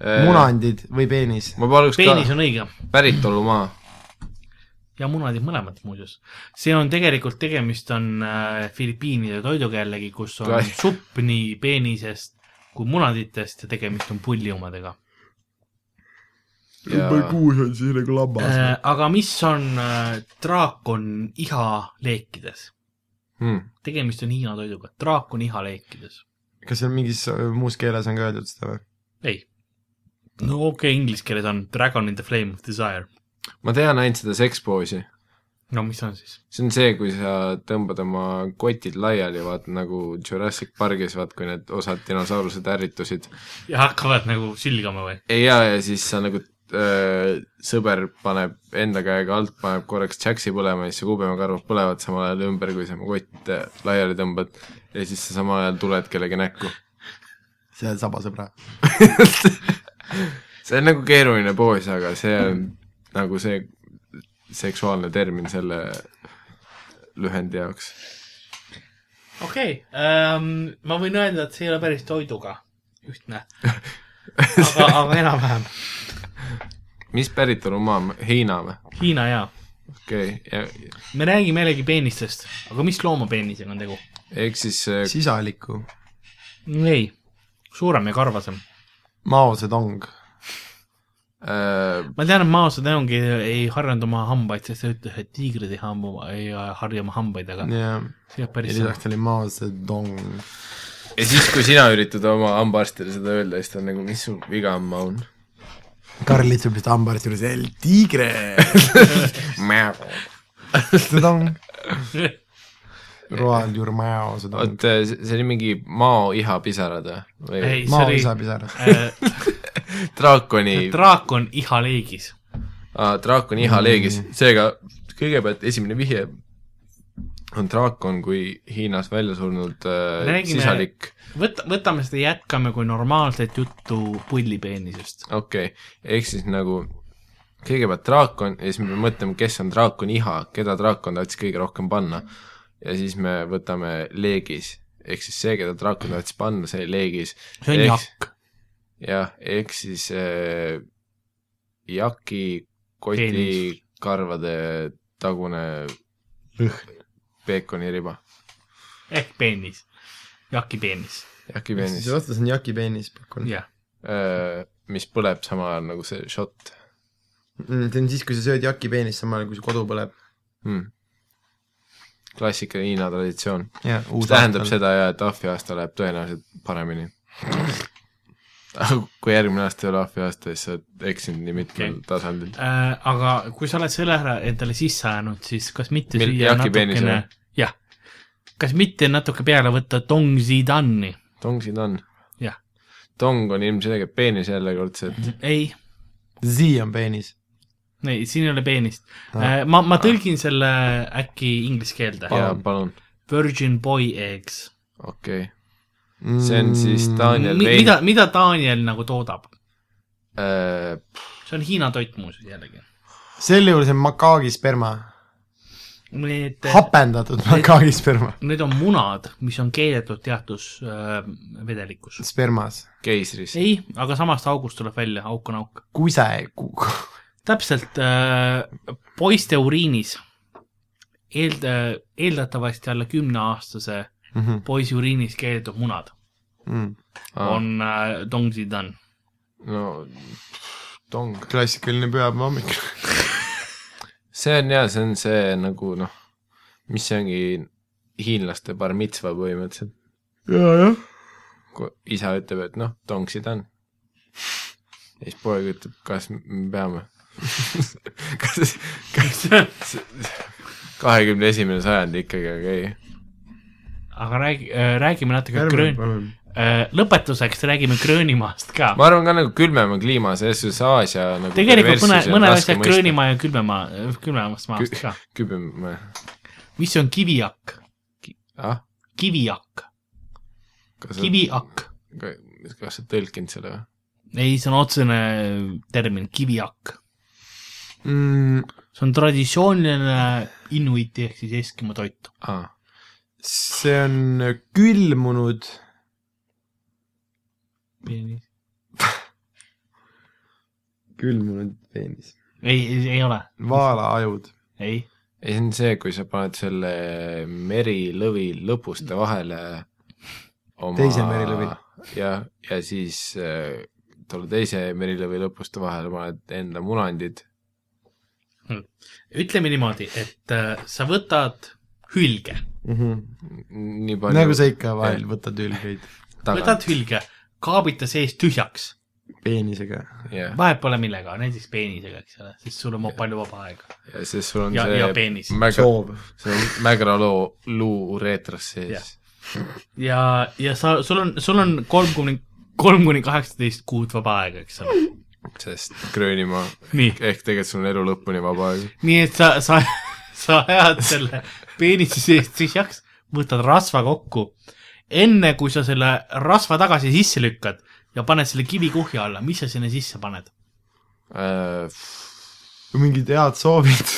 [SPEAKER 4] munandid või peenis ?
[SPEAKER 2] ma paluks
[SPEAKER 3] peenis
[SPEAKER 2] ka
[SPEAKER 3] on õige
[SPEAKER 2] päritolumaa .
[SPEAKER 3] ja munadid mõlemad muuseas . see on tegelikult , tegemist on äh, Filipiinide toiduga jällegi , kus on
[SPEAKER 2] Kai-
[SPEAKER 3] supp nii peenisest kui munaditest ja tegemist on pulli omadega .
[SPEAKER 2] ja
[SPEAKER 4] kuus on siis nagu lambas .
[SPEAKER 3] Äh, aga mis on äh, draakon iha leekides ?
[SPEAKER 2] hmm.
[SPEAKER 3] tegemist on Hiina toiduga , draakon iha leekides .
[SPEAKER 4] kas seal mingis äh, muus keeles on ka öeldud seda või ?
[SPEAKER 3] ei . no okei okay, , inglise keeles on dragon in the flame of desire .
[SPEAKER 2] ma tean ainult seda sekspoosi .
[SPEAKER 3] no mis on siis ?
[SPEAKER 2] see on see , kui sa tõmbad oma kotid laiali , vaata nagu Jurassic Parkis , vaat kui need osad dinosaurused ärritusid .
[SPEAKER 3] ja hakkavad nagu sülgama või ?
[SPEAKER 2] ja , ja siis sa nagu öö, sõber paneb enda käega alt , paneb korraks tšäksi põlema ja siis su kuubemekarvad põlevad samal ajal ümber , kui sa oma kott äh, laiali tõmbad ja siis sa samal ajal tuled kellegi näkku .
[SPEAKER 4] see on sabasõbra .
[SPEAKER 2] see on nagu keeruline poos , aga see on nagu see seksuaalne termin selle lühendi jaoks .
[SPEAKER 3] okei okay, , ma võin öelda , et see ei ole päris toiduga ühtne . aga , aga enam-vähem .
[SPEAKER 2] mis päritolumaa , Hiina või ?
[SPEAKER 3] Hiina jaa .
[SPEAKER 2] okei okay. ,
[SPEAKER 3] me räägime jällegi peenistest , aga mis looma peenisega on tegu ?
[SPEAKER 2] ehk siis eh,
[SPEAKER 4] sisaliku .
[SPEAKER 3] ei , suurem ja karvasem .
[SPEAKER 4] Mao Zedong .
[SPEAKER 2] äh,
[SPEAKER 3] ma tean , et Mao Zedong ei, ei harjanud oma hambaid , sest ta ütles , et tiigrid ei hambu , ei harja oma hambaid , aga
[SPEAKER 4] ja
[SPEAKER 3] see jääb
[SPEAKER 4] ja
[SPEAKER 3] päris sama .
[SPEAKER 4] lisaks ta oli Mao Zedong .
[SPEAKER 2] ja siis , kui sina üritad oma hambaarstile seda öelda , siis ta on nagu , mis sul viga on , Maun ?
[SPEAKER 4] Karl istub vist hambaarsti juures , El Tigre Zedong . Roald Jur Mao Zedong .
[SPEAKER 2] oot , äh, see oli mingi Mao ihapisarad või ?
[SPEAKER 3] ei ,
[SPEAKER 4] Mao
[SPEAKER 3] see
[SPEAKER 4] isa
[SPEAKER 3] oli
[SPEAKER 4] pisaras .
[SPEAKER 3] äh,
[SPEAKER 2] draakoni ,
[SPEAKER 3] draakon iha leegis .
[SPEAKER 2] draakoni ihaleegis , seega kõigepealt esimene vihje on draakon kui Hiinas välja surnud äh,
[SPEAKER 3] Räägime-
[SPEAKER 2] sisalik .
[SPEAKER 3] võta , võtame seda , jätkame kui normaalset juttu pullipeenisest .
[SPEAKER 2] okei okay. , ehk siis nagu kõigepealt draakon ja siis me peame mõtlema , kes on draakoni iha , keda draakon tahtis kõige rohkem panna . ja siis me võtame leegis , ehk siis see , keda draakon tahtis panna , see leegis .
[SPEAKER 3] see on jakk ,
[SPEAKER 2] jah , ehk siis äh, jaki koti
[SPEAKER 3] Peenis.
[SPEAKER 2] karvade tagune
[SPEAKER 4] lõhn .
[SPEAKER 2] peekoniriba ,
[SPEAKER 3] ehk peenis , jaki peenis ,
[SPEAKER 2] jaki peenis äh,
[SPEAKER 4] see , vastus on Jaki peenis , pakun .
[SPEAKER 3] jah .
[SPEAKER 2] mis põleb samal ajal nagu see šott
[SPEAKER 4] Mm, see on siis , kui sa sööd Jaki peenist samal ajal , kui su kodu põleb .
[SPEAKER 2] hmm. . klassikaline Hiina traditsioon .
[SPEAKER 4] jah ,
[SPEAKER 2] mis tähendab . seda ja , et ahvi aasta läheb tõenäoliselt paremini . aga kui järgmine aasta ei ole ahvi aasta , siis sa oled eksinud nii mitmel
[SPEAKER 3] Okei.
[SPEAKER 2] okay. tasandil .
[SPEAKER 3] äh, . aga kui sa oled selle ära endale sisse ajanud , siis kas mitte
[SPEAKER 2] Mil-
[SPEAKER 3] süüa
[SPEAKER 2] jahki
[SPEAKER 3] natukene
[SPEAKER 2] peenisele? ,
[SPEAKER 3] jah , kas mitte natuke peale võtta Dong Zidani ?
[SPEAKER 2] tong siin on .
[SPEAKER 3] Jah. .
[SPEAKER 2] tong on ilmselgelt peenis järjekordselt .
[SPEAKER 3] ei ,
[SPEAKER 4] Z on peenis .
[SPEAKER 3] ei , siin ei ole peenist
[SPEAKER 2] Ah.
[SPEAKER 3] äh, . ma , ma tõlgin selle äkki inglise keelde .
[SPEAKER 2] jaa , palun .
[SPEAKER 3] Virgin boy eggs .
[SPEAKER 2] okei okay. ,
[SPEAKER 4] Mm.
[SPEAKER 2] see on siis Daniel Vein
[SPEAKER 3] mida ,, mida Daniel nagu toodab ?
[SPEAKER 2] äh,
[SPEAKER 3] see on Hiina toit muuseas jällegi .
[SPEAKER 4] sel juhul see on makaagi sperma .
[SPEAKER 3] Need ,
[SPEAKER 4] hapendatud makaagi sperma .
[SPEAKER 3] need on munad , mis on keedetud teatud äh, vedelikus .
[SPEAKER 4] spermas .
[SPEAKER 2] keisris .
[SPEAKER 3] ei , aga samast august tuleb välja , auk on auk .
[SPEAKER 4] kuse .
[SPEAKER 3] täpselt äh, , poiste uriinis eeld- , eeldatavasti alla kümneaastase
[SPEAKER 2] Mhm.
[SPEAKER 3] poisi uriinis keedetud munad ah.
[SPEAKER 2] Ah,
[SPEAKER 3] on äh, dongzidan .
[SPEAKER 2] no tong ,
[SPEAKER 4] klassikaline pühapäeva hommik .
[SPEAKER 2] see on jaa , see on see nagu noh , mis see ongi hiinlaste bar mitzva põhimõtteliselt ,
[SPEAKER 4] jajah .
[SPEAKER 2] kui isa ütleb , et noh , tongsid on . ja siis poeg ütleb , kas me peame . kas , kas kahekümne esimene sajand ikkagi , aga ei .
[SPEAKER 3] aga räägi äh, , räägime natuke
[SPEAKER 4] Kärmen ,
[SPEAKER 3] Gröön- ,
[SPEAKER 4] palun .
[SPEAKER 3] äh, lõpetuseks räägime Gröönimaast ka .
[SPEAKER 2] ma arvan ka nagu külmema kliima , selles suhtes Aasia nagu
[SPEAKER 3] tegelikult mõne ,
[SPEAKER 2] perverssus on
[SPEAKER 3] mõne
[SPEAKER 2] raske
[SPEAKER 3] asja
[SPEAKER 2] mõista.
[SPEAKER 3] Gröönimaa ja külmemaa , külmemast maast
[SPEAKER 2] Kü-
[SPEAKER 3] ka .
[SPEAKER 2] kübem ,
[SPEAKER 3] mis on kiviakk ?
[SPEAKER 2] ah ,
[SPEAKER 3] kiviakk ,
[SPEAKER 2] kas sa ,
[SPEAKER 3] kiviakk .
[SPEAKER 2] kas sa oled tõlkinud selle või ?
[SPEAKER 3] ei , see on otsene termin , kiviakk
[SPEAKER 4] Mm,
[SPEAKER 3] see on traditsiooniline inuiti ehk siis Eskimo toit .
[SPEAKER 2] aa ,
[SPEAKER 4] see on külmunud küll mul on peenis .
[SPEAKER 3] ei , ei ole ,
[SPEAKER 4] vaalaajud .
[SPEAKER 3] ei .
[SPEAKER 2] ei , see on see , kui sa paned selle merilõvi lõpuste vahele oma...
[SPEAKER 4] Teise merilõvi. .
[SPEAKER 2] jah , ja siis äh, tolle teise merilõvi lõpuste vahele paned enda munandid .
[SPEAKER 3] Hmm. ütleme niimoodi , et äh, sa võtad hülge ,
[SPEAKER 2] nii palju
[SPEAKER 4] Mhm. nagu sa ikka vahel võtad ülgeid
[SPEAKER 3] võtad hülge , kaabita sees tühjaks ,
[SPEAKER 4] peenisega .
[SPEAKER 2] jah ,
[SPEAKER 3] vahet pole millega , näiteks peenisega , eks ole , siis sul on mo- palju vaba aega
[SPEAKER 2] ja siis sul on
[SPEAKER 3] ja , ja
[SPEAKER 2] see
[SPEAKER 3] peenis .
[SPEAKER 2] mäga ,
[SPEAKER 4] soov .
[SPEAKER 2] see on mägraloo luu ureetras sees
[SPEAKER 3] Jah. ja , ja sa , sul on , sul on kolm kuni , kolm kuni kaheksateist kuud vaba aega , eks ole .
[SPEAKER 2] sest Gröönimaa
[SPEAKER 3] nii ,
[SPEAKER 2] ehk tegelikult sul on elu lõpuni vaba aeg .
[SPEAKER 3] nii et sa , sa , sa ajad selle peenise seest tühjaks , võtad rasva kokku . enne kui sa selle rasva tagasi sisse lükkad ja paned selle kivi kuhja alla , mis sa sinna sisse paned ?
[SPEAKER 2] Äh,
[SPEAKER 4] mingid head soovid .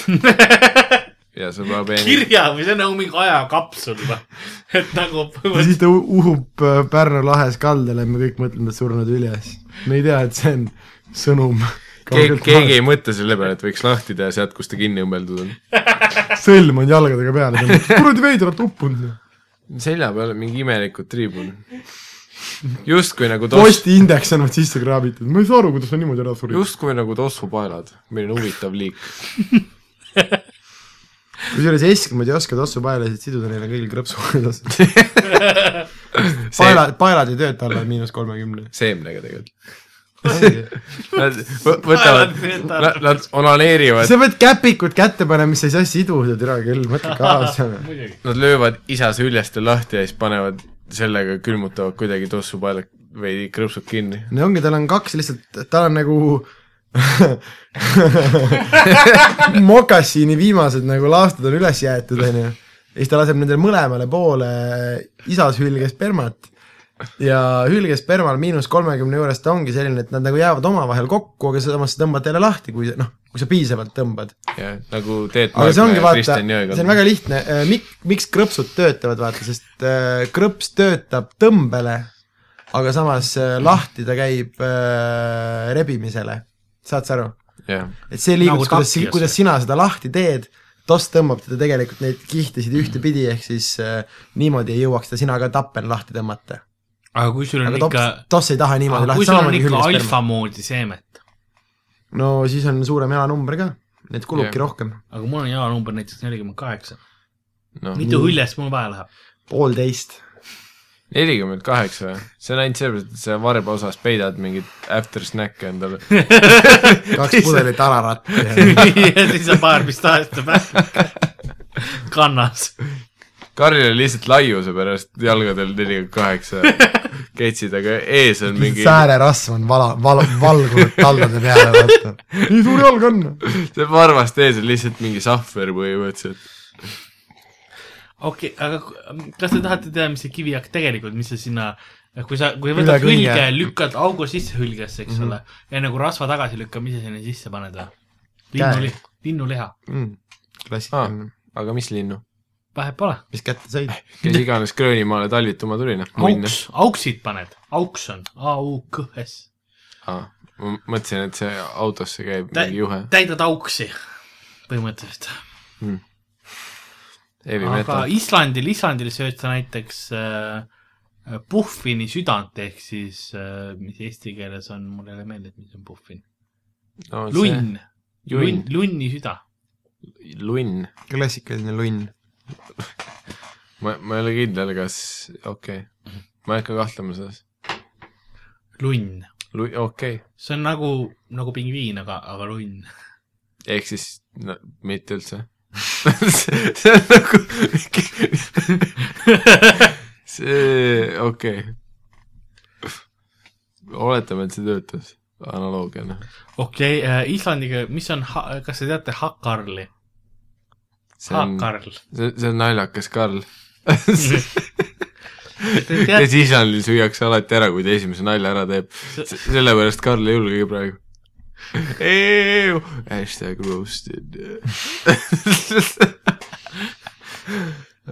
[SPEAKER 2] ja sul peab peenis ,
[SPEAKER 3] kirja või see on nagu mingi ajakapsul või ? et nagu
[SPEAKER 4] ja siis ta u- uhub äh, Pärnu lahes kaldale ja me kõik mõtleme , et surnud üles . me ei tea , et see on sõnum .
[SPEAKER 2] keegi , keegi ei mõtle selle peale , et võiks lahti teha sealt , kus ta kinni õmmeldud on .
[SPEAKER 4] sõlm on jalgadega peal , kuradi veidralt uppunud .
[SPEAKER 2] selja peal on mingi imelikud triibud . justkui nagu tos- ,
[SPEAKER 4] postiindeks on vot sisse kraabitud , ma ei saa aru , kuidas sa niimoodi ära surid Just... .
[SPEAKER 2] justkui nagu tossupaelad , milline huvitav liik .
[SPEAKER 4] kusjuures eskimad ei oska tossupaelasid siduda , neil on kõigil krõpsukohad asjad . paelad , paelad ei tööta alla miinus kolmekümne .
[SPEAKER 2] seemnega tegelikult .
[SPEAKER 4] sa
[SPEAKER 2] Nad võ- võtavad , nad, nad onaneerivad ,
[SPEAKER 4] pead käpikud kätte panema , siis sa ei saa siduda , türa küll , mõtle kaasa .
[SPEAKER 3] muidugi .
[SPEAKER 2] nad löövad isa süljeste lahti ja siis panevad sellega , külmutavad kuidagi tossupaelad veidi krõpsud kinni .
[SPEAKER 4] no ongi , tal on kaks lihtsalt , tal on nagu mokassiini viimased nagu laastud on üles jäetud , onju . ja siis ta laseb nendele mõlemale poole isas hülgespermat ja hülgespermal miinus kolmekümne juures ta ongi selline , et nad nagu jäävad omavahel kokku , aga samas sa tõmbad jälle lahti , kui noh , kui sa piisavalt tõmbad .
[SPEAKER 2] jah , nagu Teet
[SPEAKER 4] aga see
[SPEAKER 2] Maarma
[SPEAKER 4] ongi
[SPEAKER 2] ja
[SPEAKER 4] vaata ,
[SPEAKER 2] Kristjan
[SPEAKER 4] see on
[SPEAKER 2] Jõekand .
[SPEAKER 4] väga lihtne , mik- , miks krõpsud töötavad , vaata , sest äh, krõps töötab tõmbele , aga samas äh, lahti ta käib äh, rebimisele , saad sa aru ?
[SPEAKER 2] jah ,
[SPEAKER 4] et see liigutus
[SPEAKER 3] Nagu
[SPEAKER 4] nagu , kuidas
[SPEAKER 3] takjas. ,
[SPEAKER 4] kuidas sina seda lahti teed , toss tõmbab teda tegelikult neid kihtisid ühtepidi , ehk siis äh, niimoodi ei jõuaks ta sina ka tappel lahti tõmmata .
[SPEAKER 3] aga kui sul on
[SPEAKER 4] aga
[SPEAKER 3] ikka ,
[SPEAKER 4] tops , toss ei taha niimoodi
[SPEAKER 3] kui
[SPEAKER 4] lahti ,
[SPEAKER 3] sul on
[SPEAKER 4] samamoodi
[SPEAKER 3] ikka
[SPEAKER 4] hüljes perma .
[SPEAKER 3] alfa moodi seemet ,
[SPEAKER 4] no siis on suurem elanumber ka , neid
[SPEAKER 2] Jah.
[SPEAKER 4] kulubki yeah. rohkem ,
[SPEAKER 3] aga mul on jalanumber näiteks nelikümmend kaheksa ,
[SPEAKER 2] noh ,
[SPEAKER 3] mitu hüljest mul vaja läheb ?
[SPEAKER 4] poolteist .
[SPEAKER 2] nelikümmend kaheksa või ? see on ainult sellepärast , et sa varba osas peidad mingit after snack'e endale .
[SPEAKER 4] kaks pudelit alaratti .
[SPEAKER 3] ja siis on paar mis tahes tuleb kannas .
[SPEAKER 2] Karlil on lihtsalt laiuse pärast jalgadel nelikümmend kaheksa ketsid , aga ees on mingi ,
[SPEAKER 4] säärerasv on vala , val- , valgunud taldade peale , vaata . nii suur jalg on .
[SPEAKER 2] see varvast ees on lihtsalt mingi sahver põhimõtteliselt .
[SPEAKER 3] okei okay, , aga ku- kas te tahate teada , mis see kivijakk tegelikult , mis sa sinna , kui sa , kui
[SPEAKER 4] Üle
[SPEAKER 3] võtad
[SPEAKER 4] külje.
[SPEAKER 3] hülge , lükkad augu sisse hülgesse , eks ole mm ,
[SPEAKER 2] Mhm.
[SPEAKER 3] -hmm. enne kui rasva tagasi lükkad , mis sa sinna sisse paned või ? linnu , linnuliha ,
[SPEAKER 4] klassikaline .
[SPEAKER 2] Ah, aga mis linnu ?
[SPEAKER 3] vahet pole .
[SPEAKER 2] Ah.
[SPEAKER 4] mis kätte said ?
[SPEAKER 2] kes iganes Gröönimaale talvituma tuli , noh , muinne .
[SPEAKER 3] auks , auksid paned , auks on A U K S ,
[SPEAKER 2] Ah, ma mõtlesin , et see autosse käib
[SPEAKER 3] Tä-
[SPEAKER 2] mingi juhe
[SPEAKER 3] täidad auksi põhimõtteliselt .
[SPEAKER 2] heavy
[SPEAKER 3] aga
[SPEAKER 2] metal .
[SPEAKER 3] Islandil , Islandil sööd sa näiteks äh, puhvini südant ehk siis äh, , mis eesti keeles on , mul ei ole meelde , et mis on puhvin .
[SPEAKER 2] No, see-
[SPEAKER 3] lunn , lunn
[SPEAKER 2] junn ,,
[SPEAKER 3] lunni süda .
[SPEAKER 2] lunn .
[SPEAKER 4] klassikaline lunn .
[SPEAKER 2] ma , ma ei ole kindel , kas , okei okay. . ma ei hakka kahtlema selles .
[SPEAKER 3] lunn ,
[SPEAKER 2] Lu- , okei okay. .
[SPEAKER 3] see on nagu , nagu pingviin , aga , aga lunn .
[SPEAKER 2] ehk siis no, mitte üldse . see on nagu see , okei okay. . oletame , et see töötas noh. analoogiana .
[SPEAKER 3] okei okay, , Islandiga , mis on , kas te teate hakarli ?
[SPEAKER 2] see on ,
[SPEAKER 3] hakarl .
[SPEAKER 2] see, see on naljakas Karl .
[SPEAKER 3] Te
[SPEAKER 2] ja
[SPEAKER 3] teate ,
[SPEAKER 2] siis Islandil süüakse alati ära , kui ta esimese nalja ära teeb . sellepärast Karl ei julgegi praegu . Hashtag roasted .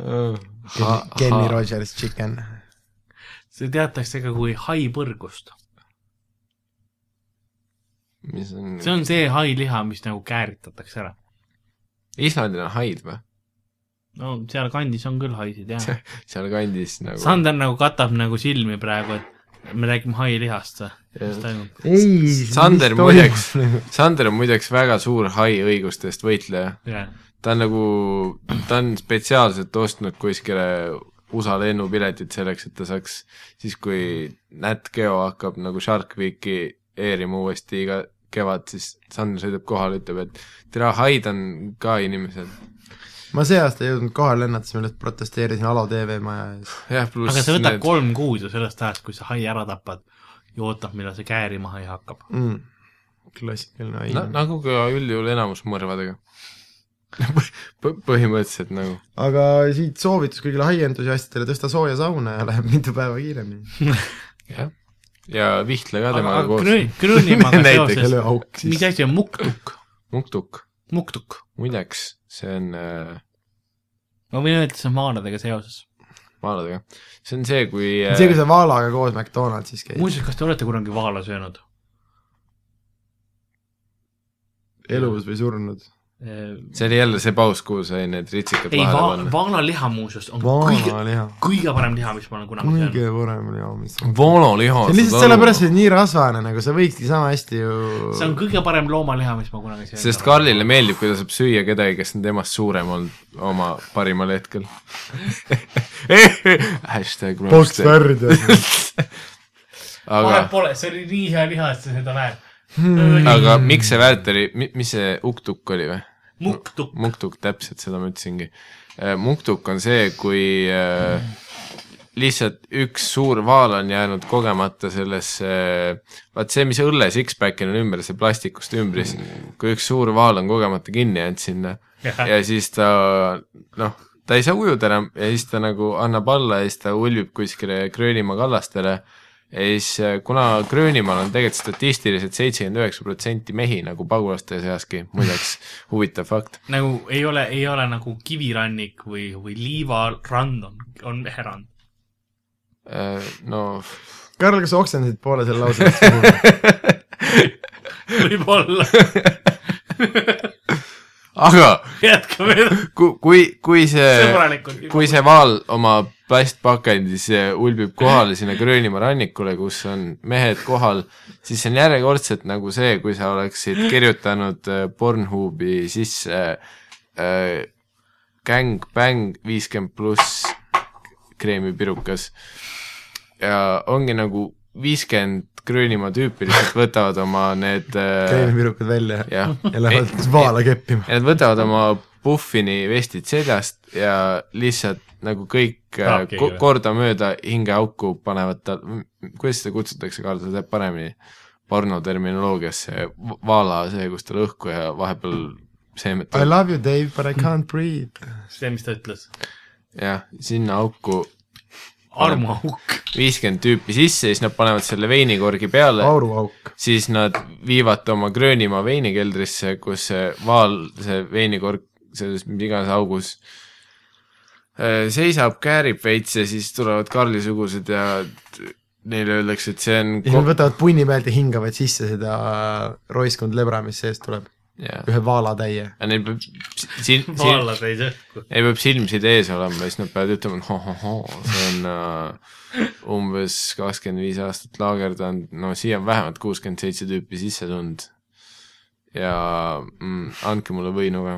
[SPEAKER 4] Kenny Rogers chicken .
[SPEAKER 3] see teatakse ka kui haipõrgust .
[SPEAKER 2] mis on,
[SPEAKER 3] see on see hai liha , mis nagu kääritatakse ära .
[SPEAKER 2] Islandil on haid või ?
[SPEAKER 3] no seal kandis on küll haisid jah .
[SPEAKER 2] seal kandis nagu .
[SPEAKER 3] Sander nagu katab nagu silmi praegu , et me räägime hai lihast või ? mis toimub ?
[SPEAKER 4] ei ,
[SPEAKER 2] Sander muideks , Sander on muideks väga suur hai õigustest võitleja .
[SPEAKER 3] jah ,
[SPEAKER 2] ta on nagu , ta on spetsiaalselt ostnud kuskile USA lennupiletid selleks , et ta saaks siis , kui Nat Geo hakkab nagu Shark Weeki eerima uuesti iga kevad , siis Sander sõidab kohale , ütleb , et tere , haid on ka inimesed .
[SPEAKER 4] ma see aasta ei jõudnud kohale lennata , siis ma lihtsalt protesteerisin Alo TV maja ees .
[SPEAKER 2] jah , pluss
[SPEAKER 3] aga see võtab need... kolm kuud ju sellest ajast , kui sa hai ära tapad ja ootab , millal see käärima hai hakkab .
[SPEAKER 4] mm. . klassikaline
[SPEAKER 2] na,
[SPEAKER 4] aine .
[SPEAKER 2] nagu ka üldjuhul enamus mõrvadega P . põhimõtteliselt nagu .
[SPEAKER 4] aga siit soovitus kõigile haientusiastidele , tõsta sooja sauna ja läheb mitu päeva kiiremini .
[SPEAKER 2] jah . ja vihtle ka
[SPEAKER 3] aga
[SPEAKER 2] temaga
[SPEAKER 3] aga
[SPEAKER 2] koos .
[SPEAKER 3] Grö- , Gröönimaa
[SPEAKER 2] Näiteks.
[SPEAKER 3] seoses ,
[SPEAKER 4] löö auk
[SPEAKER 3] mis
[SPEAKER 4] sisse .
[SPEAKER 3] asi on muktuk ?
[SPEAKER 2] muktuk ,
[SPEAKER 3] muktuk ,
[SPEAKER 2] muideks , see on äh,
[SPEAKER 3] ma võin öelda , et see on maanadega seoses .
[SPEAKER 2] maaladega , see on see , kui äh,
[SPEAKER 4] see , kui sa vaalaga koos McDonaldsis käid ,
[SPEAKER 3] muuseas , kas te olete kunagi vaala söönud ?
[SPEAKER 4] elus või surnud .
[SPEAKER 3] ei ,
[SPEAKER 2] äh, see oli jälle see paus , kuhu sai need ritsikad vahele
[SPEAKER 3] va- ,
[SPEAKER 2] panna .
[SPEAKER 3] vaalaliha muuseas on kõige ,
[SPEAKER 4] vaanaliha ,
[SPEAKER 3] kõige parem liha , mis ma olen kunagi söönud .
[SPEAKER 4] kõige parem liha , mis on .
[SPEAKER 2] voolaliha .
[SPEAKER 4] see on lihtsalt sellepärast , et nii rasvane nagu , sa võikski sama hästi ju
[SPEAKER 3] see on kõige parem loomaliha , mis ma kunagi söönud
[SPEAKER 2] sest Karlile meeldib , kui ta saab süüa kedagi , kes on temast suurem olnud oma parimal hetkel . hashtag
[SPEAKER 4] poks
[SPEAKER 2] roasted.
[SPEAKER 4] värd ja
[SPEAKER 3] vahet
[SPEAKER 2] aga , Hmm.
[SPEAKER 3] pole , see oli nii hea liha , et sa seda näed . Äh,
[SPEAKER 2] aga miks see väärt oli , mis see uktukk oli või ?
[SPEAKER 3] muktuk ,
[SPEAKER 2] muktuk , täpselt seda ma ütlesingi . muktuk on see , kui äh, lihtsalt üks suur vaal on jäänud kogemata sellesse , vaat see , mis õlle six-pack'il on ümber , see plastikust ümbris , kui üks suur vaal on kogemata kinni jäänud sinna ja siis ta noh , ta ei saa ujuda enam ja siis ta nagu annab alla ja siis ta ulvib kuskile Gröönimaa kallastele ja siis äh, kuna Gröönimaal on tegelikult statistiliselt seitsekümmend üheksa protsenti mehi nagu pagulaste seaski , muideks huvitav fakt .
[SPEAKER 3] nagu ei ole , ei ole nagu kivirannik või , või liivarand on , on meherand .
[SPEAKER 2] Äh, no
[SPEAKER 4] Karl , kas sa oksendasid poole selle lause puhul ?
[SPEAKER 3] võib-olla ,
[SPEAKER 2] aga
[SPEAKER 3] jätkame
[SPEAKER 2] kui , kui , kui see ,
[SPEAKER 3] sõbralikult .
[SPEAKER 2] kui see vaal oma plastpakendis äh, ulbib kohale sinna Gröönimaa rannikule , kus on mehed kohal , siis see on järjekordselt nagu see , kui sa oleksid kirjutanud äh, Pornhubi sisse äh, gäng , bäng , viiskümmend pluss kreemipirukas ja ongi nagu viiskümmend Gröönimaa tüüpi lihtsalt võtavad oma need äh,
[SPEAKER 4] kreemipirukad välja ja,
[SPEAKER 2] jah ,
[SPEAKER 4] ja lähevad vaala keppima .
[SPEAKER 2] ja nad võtavad oma puffini vestid seljast ja lihtsalt nagu kõik äh,
[SPEAKER 3] Taapkeegi
[SPEAKER 2] ko-
[SPEAKER 3] või?
[SPEAKER 2] kordamööda hingeauku panevad tal , kuidas seda kutsutakse , Karl , sa tead paremini pornoterminoloogias see v- vaala , see , kus tal õhku ja vahepeal seemed
[SPEAKER 4] I
[SPEAKER 2] tuleb ,
[SPEAKER 4] love you , Dave , but I can't breathe .
[SPEAKER 3] see , mis ta ütles ,
[SPEAKER 2] jah , sinna auku
[SPEAKER 3] armuauk .
[SPEAKER 2] viiskümmend tüüpi sisse ja siis nad panevad selle veinikorgi peale ,
[SPEAKER 4] Oh, auruauk .
[SPEAKER 2] siis nad viivad ta oma Gröönimaa veinikeldrisse , kus see vaal , see veinikork selles mis iganes augus äh, seisab , käärib veits ja siis tulevad Karli-sugused ja t- neile öeldakse , et see on
[SPEAKER 4] ja siis nad
[SPEAKER 2] ko-
[SPEAKER 4] võtavad punni pealt ja hingavad sisse seda roiskund lebra , mis seest tuleb .
[SPEAKER 2] ja
[SPEAKER 4] ühe vaalatäie .
[SPEAKER 2] ja neil peab si- siin , siin ,
[SPEAKER 3] vaala sai sõhku .
[SPEAKER 2] neil peab silmsid ees olema ja siis nad peavad ütlema , et ho-ho-hoo , see on äh, umbes kakskümmend viis aastat laagerdanud , no siia on vähemalt kuuskümmend seitse tüüpi sisse tulnud . ja mm, andke mulle võinu ka .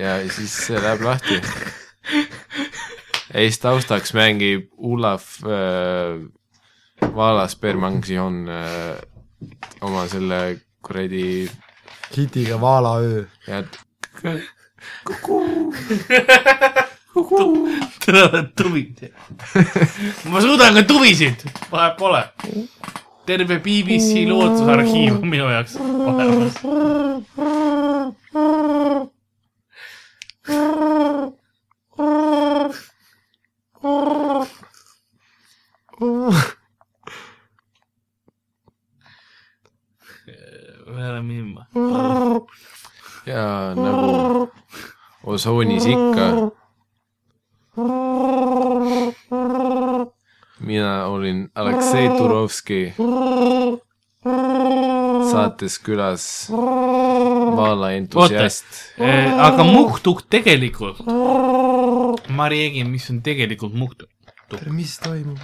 [SPEAKER 2] ja siis see läheb lahti . ja siis taustaks mängib Olav äh, Vaalas Bermangsion äh, oma selle kuradi
[SPEAKER 4] hitiga Vaala öö .
[SPEAKER 2] ja
[SPEAKER 3] tulevad tuvid . ma suudan ka tuvisid , vahet pole . terve BBC loodusarhiiv on minu jaoks olemas . me läheme ilma .
[SPEAKER 2] ja nagu osoonis ikka . mina olin Aleksei Turovski saates külas Vaala entusiast .
[SPEAKER 3] Äh, aga muhtuk tegelikult , ma räägin , mis on tegelikult muhtuk .
[SPEAKER 4] mis toimub ?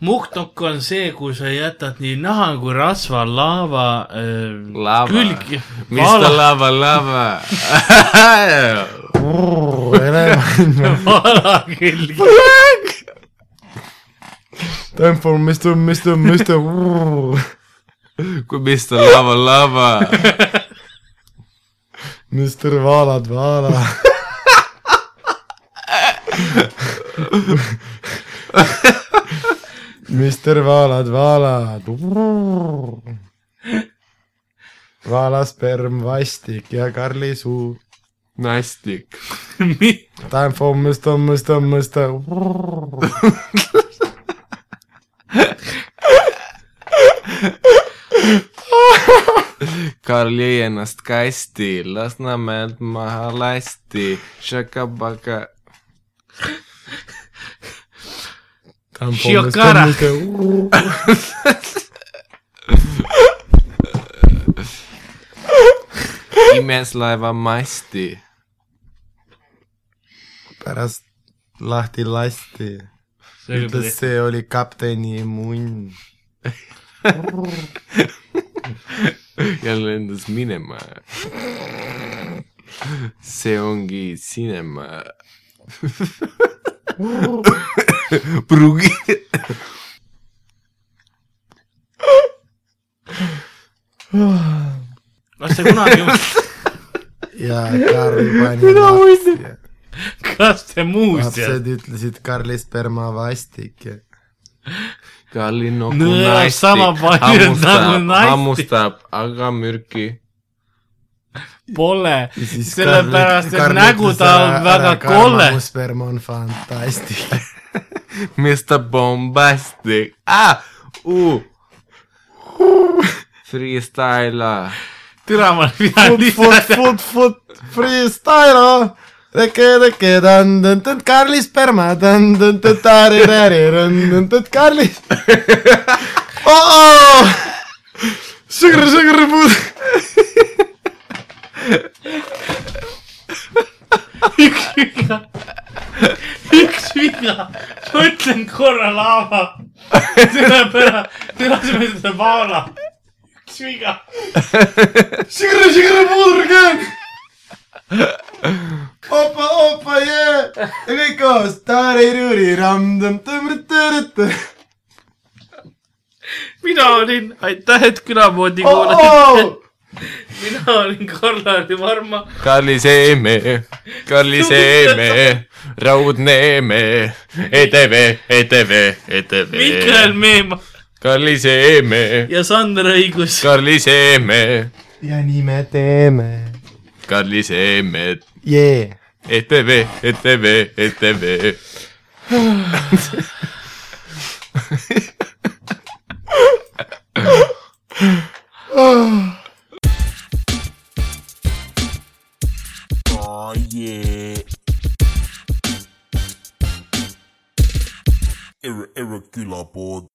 [SPEAKER 3] muhtuk on see , kui sa jätad nii naha kui rasva laava äh,
[SPEAKER 2] Lava.
[SPEAKER 3] külge .
[SPEAKER 2] mis ta lava , lava ?
[SPEAKER 3] vala külge .
[SPEAKER 4] tempo , mis ta , mis ta , mis ta .
[SPEAKER 2] kui mis ta lava , lava ?
[SPEAKER 4] Mr Vaalad , Vaala . Mr Vaalad , Vaalad . vaalasperm , vastik ja Karli suu .
[SPEAKER 2] nastik .
[SPEAKER 4] tempo , mis ta , mis ta , mis ta .
[SPEAKER 2] Karl jõi ennast kasti , Lasnamäelt maha lasti , šakabaka .
[SPEAKER 3] Shiokara.
[SPEAKER 2] imes laeva masti .
[SPEAKER 4] pärast lahti lasti , ütles , see oli kapteni munn
[SPEAKER 2] ja lendas minema . see ongi sinema . pruugi .
[SPEAKER 3] kas te kunagi ,
[SPEAKER 4] ja Karl pani lahti .
[SPEAKER 3] kas te muuseas
[SPEAKER 4] lapsed ütlesid Karli sperma vastik .
[SPEAKER 2] Karli nuku
[SPEAKER 3] Nõel sama palju nagu
[SPEAKER 2] hammustab ,
[SPEAKER 3] nastik.
[SPEAKER 2] hammustab , aga mürki .
[SPEAKER 3] pole , sellepärast et nägu tal on väga kolle .
[SPEAKER 4] mu sperma on fantastik .
[SPEAKER 2] Mr Bombastic ah! . Uh. Freestyler .
[SPEAKER 3] türa , ma pidan
[SPEAKER 4] fut ,
[SPEAKER 3] lihtsalt ,
[SPEAKER 4] fut , fut , freestyle . Reke , reke , tõnd-tõnd-tõnd , Karli sperma , tõnd-tõnd-tõnd , tari-täri , tõnd-tõnd-tõnd , Karli . Oh! sõgr-sõgr , puud .
[SPEAKER 3] üks viga , üks viga , ma ütlen korra laava , sellepärast , türa , sa mõtled vaala , üks viga ,
[SPEAKER 4] Sigre-sigre pudrgeen . opa , opa , jee . ja kõik koos . tari-ruri , ramm-tõmm-tõmm-tõmm-tõmm .
[SPEAKER 3] mina olin , aitäh , et külamoodi kuulasite ,
[SPEAKER 4] opa ,
[SPEAKER 3] mina olin Karl-Lauri Varma ,
[SPEAKER 2] Karli seeme , Karli seeme , raudne E me , ETV , ETV ,
[SPEAKER 3] Mihkel
[SPEAKER 2] ETV .
[SPEAKER 3] Meemaa
[SPEAKER 2] Karli seeme ,
[SPEAKER 3] ja Sander Õigus ,
[SPEAKER 2] Karli seeme ,
[SPEAKER 4] ja nii me teeme .
[SPEAKER 2] Karli seeme ,
[SPEAKER 4] jee .
[SPEAKER 2] ETV , ETV , ETV .
[SPEAKER 1] Oh yeah. Ir- irregular board.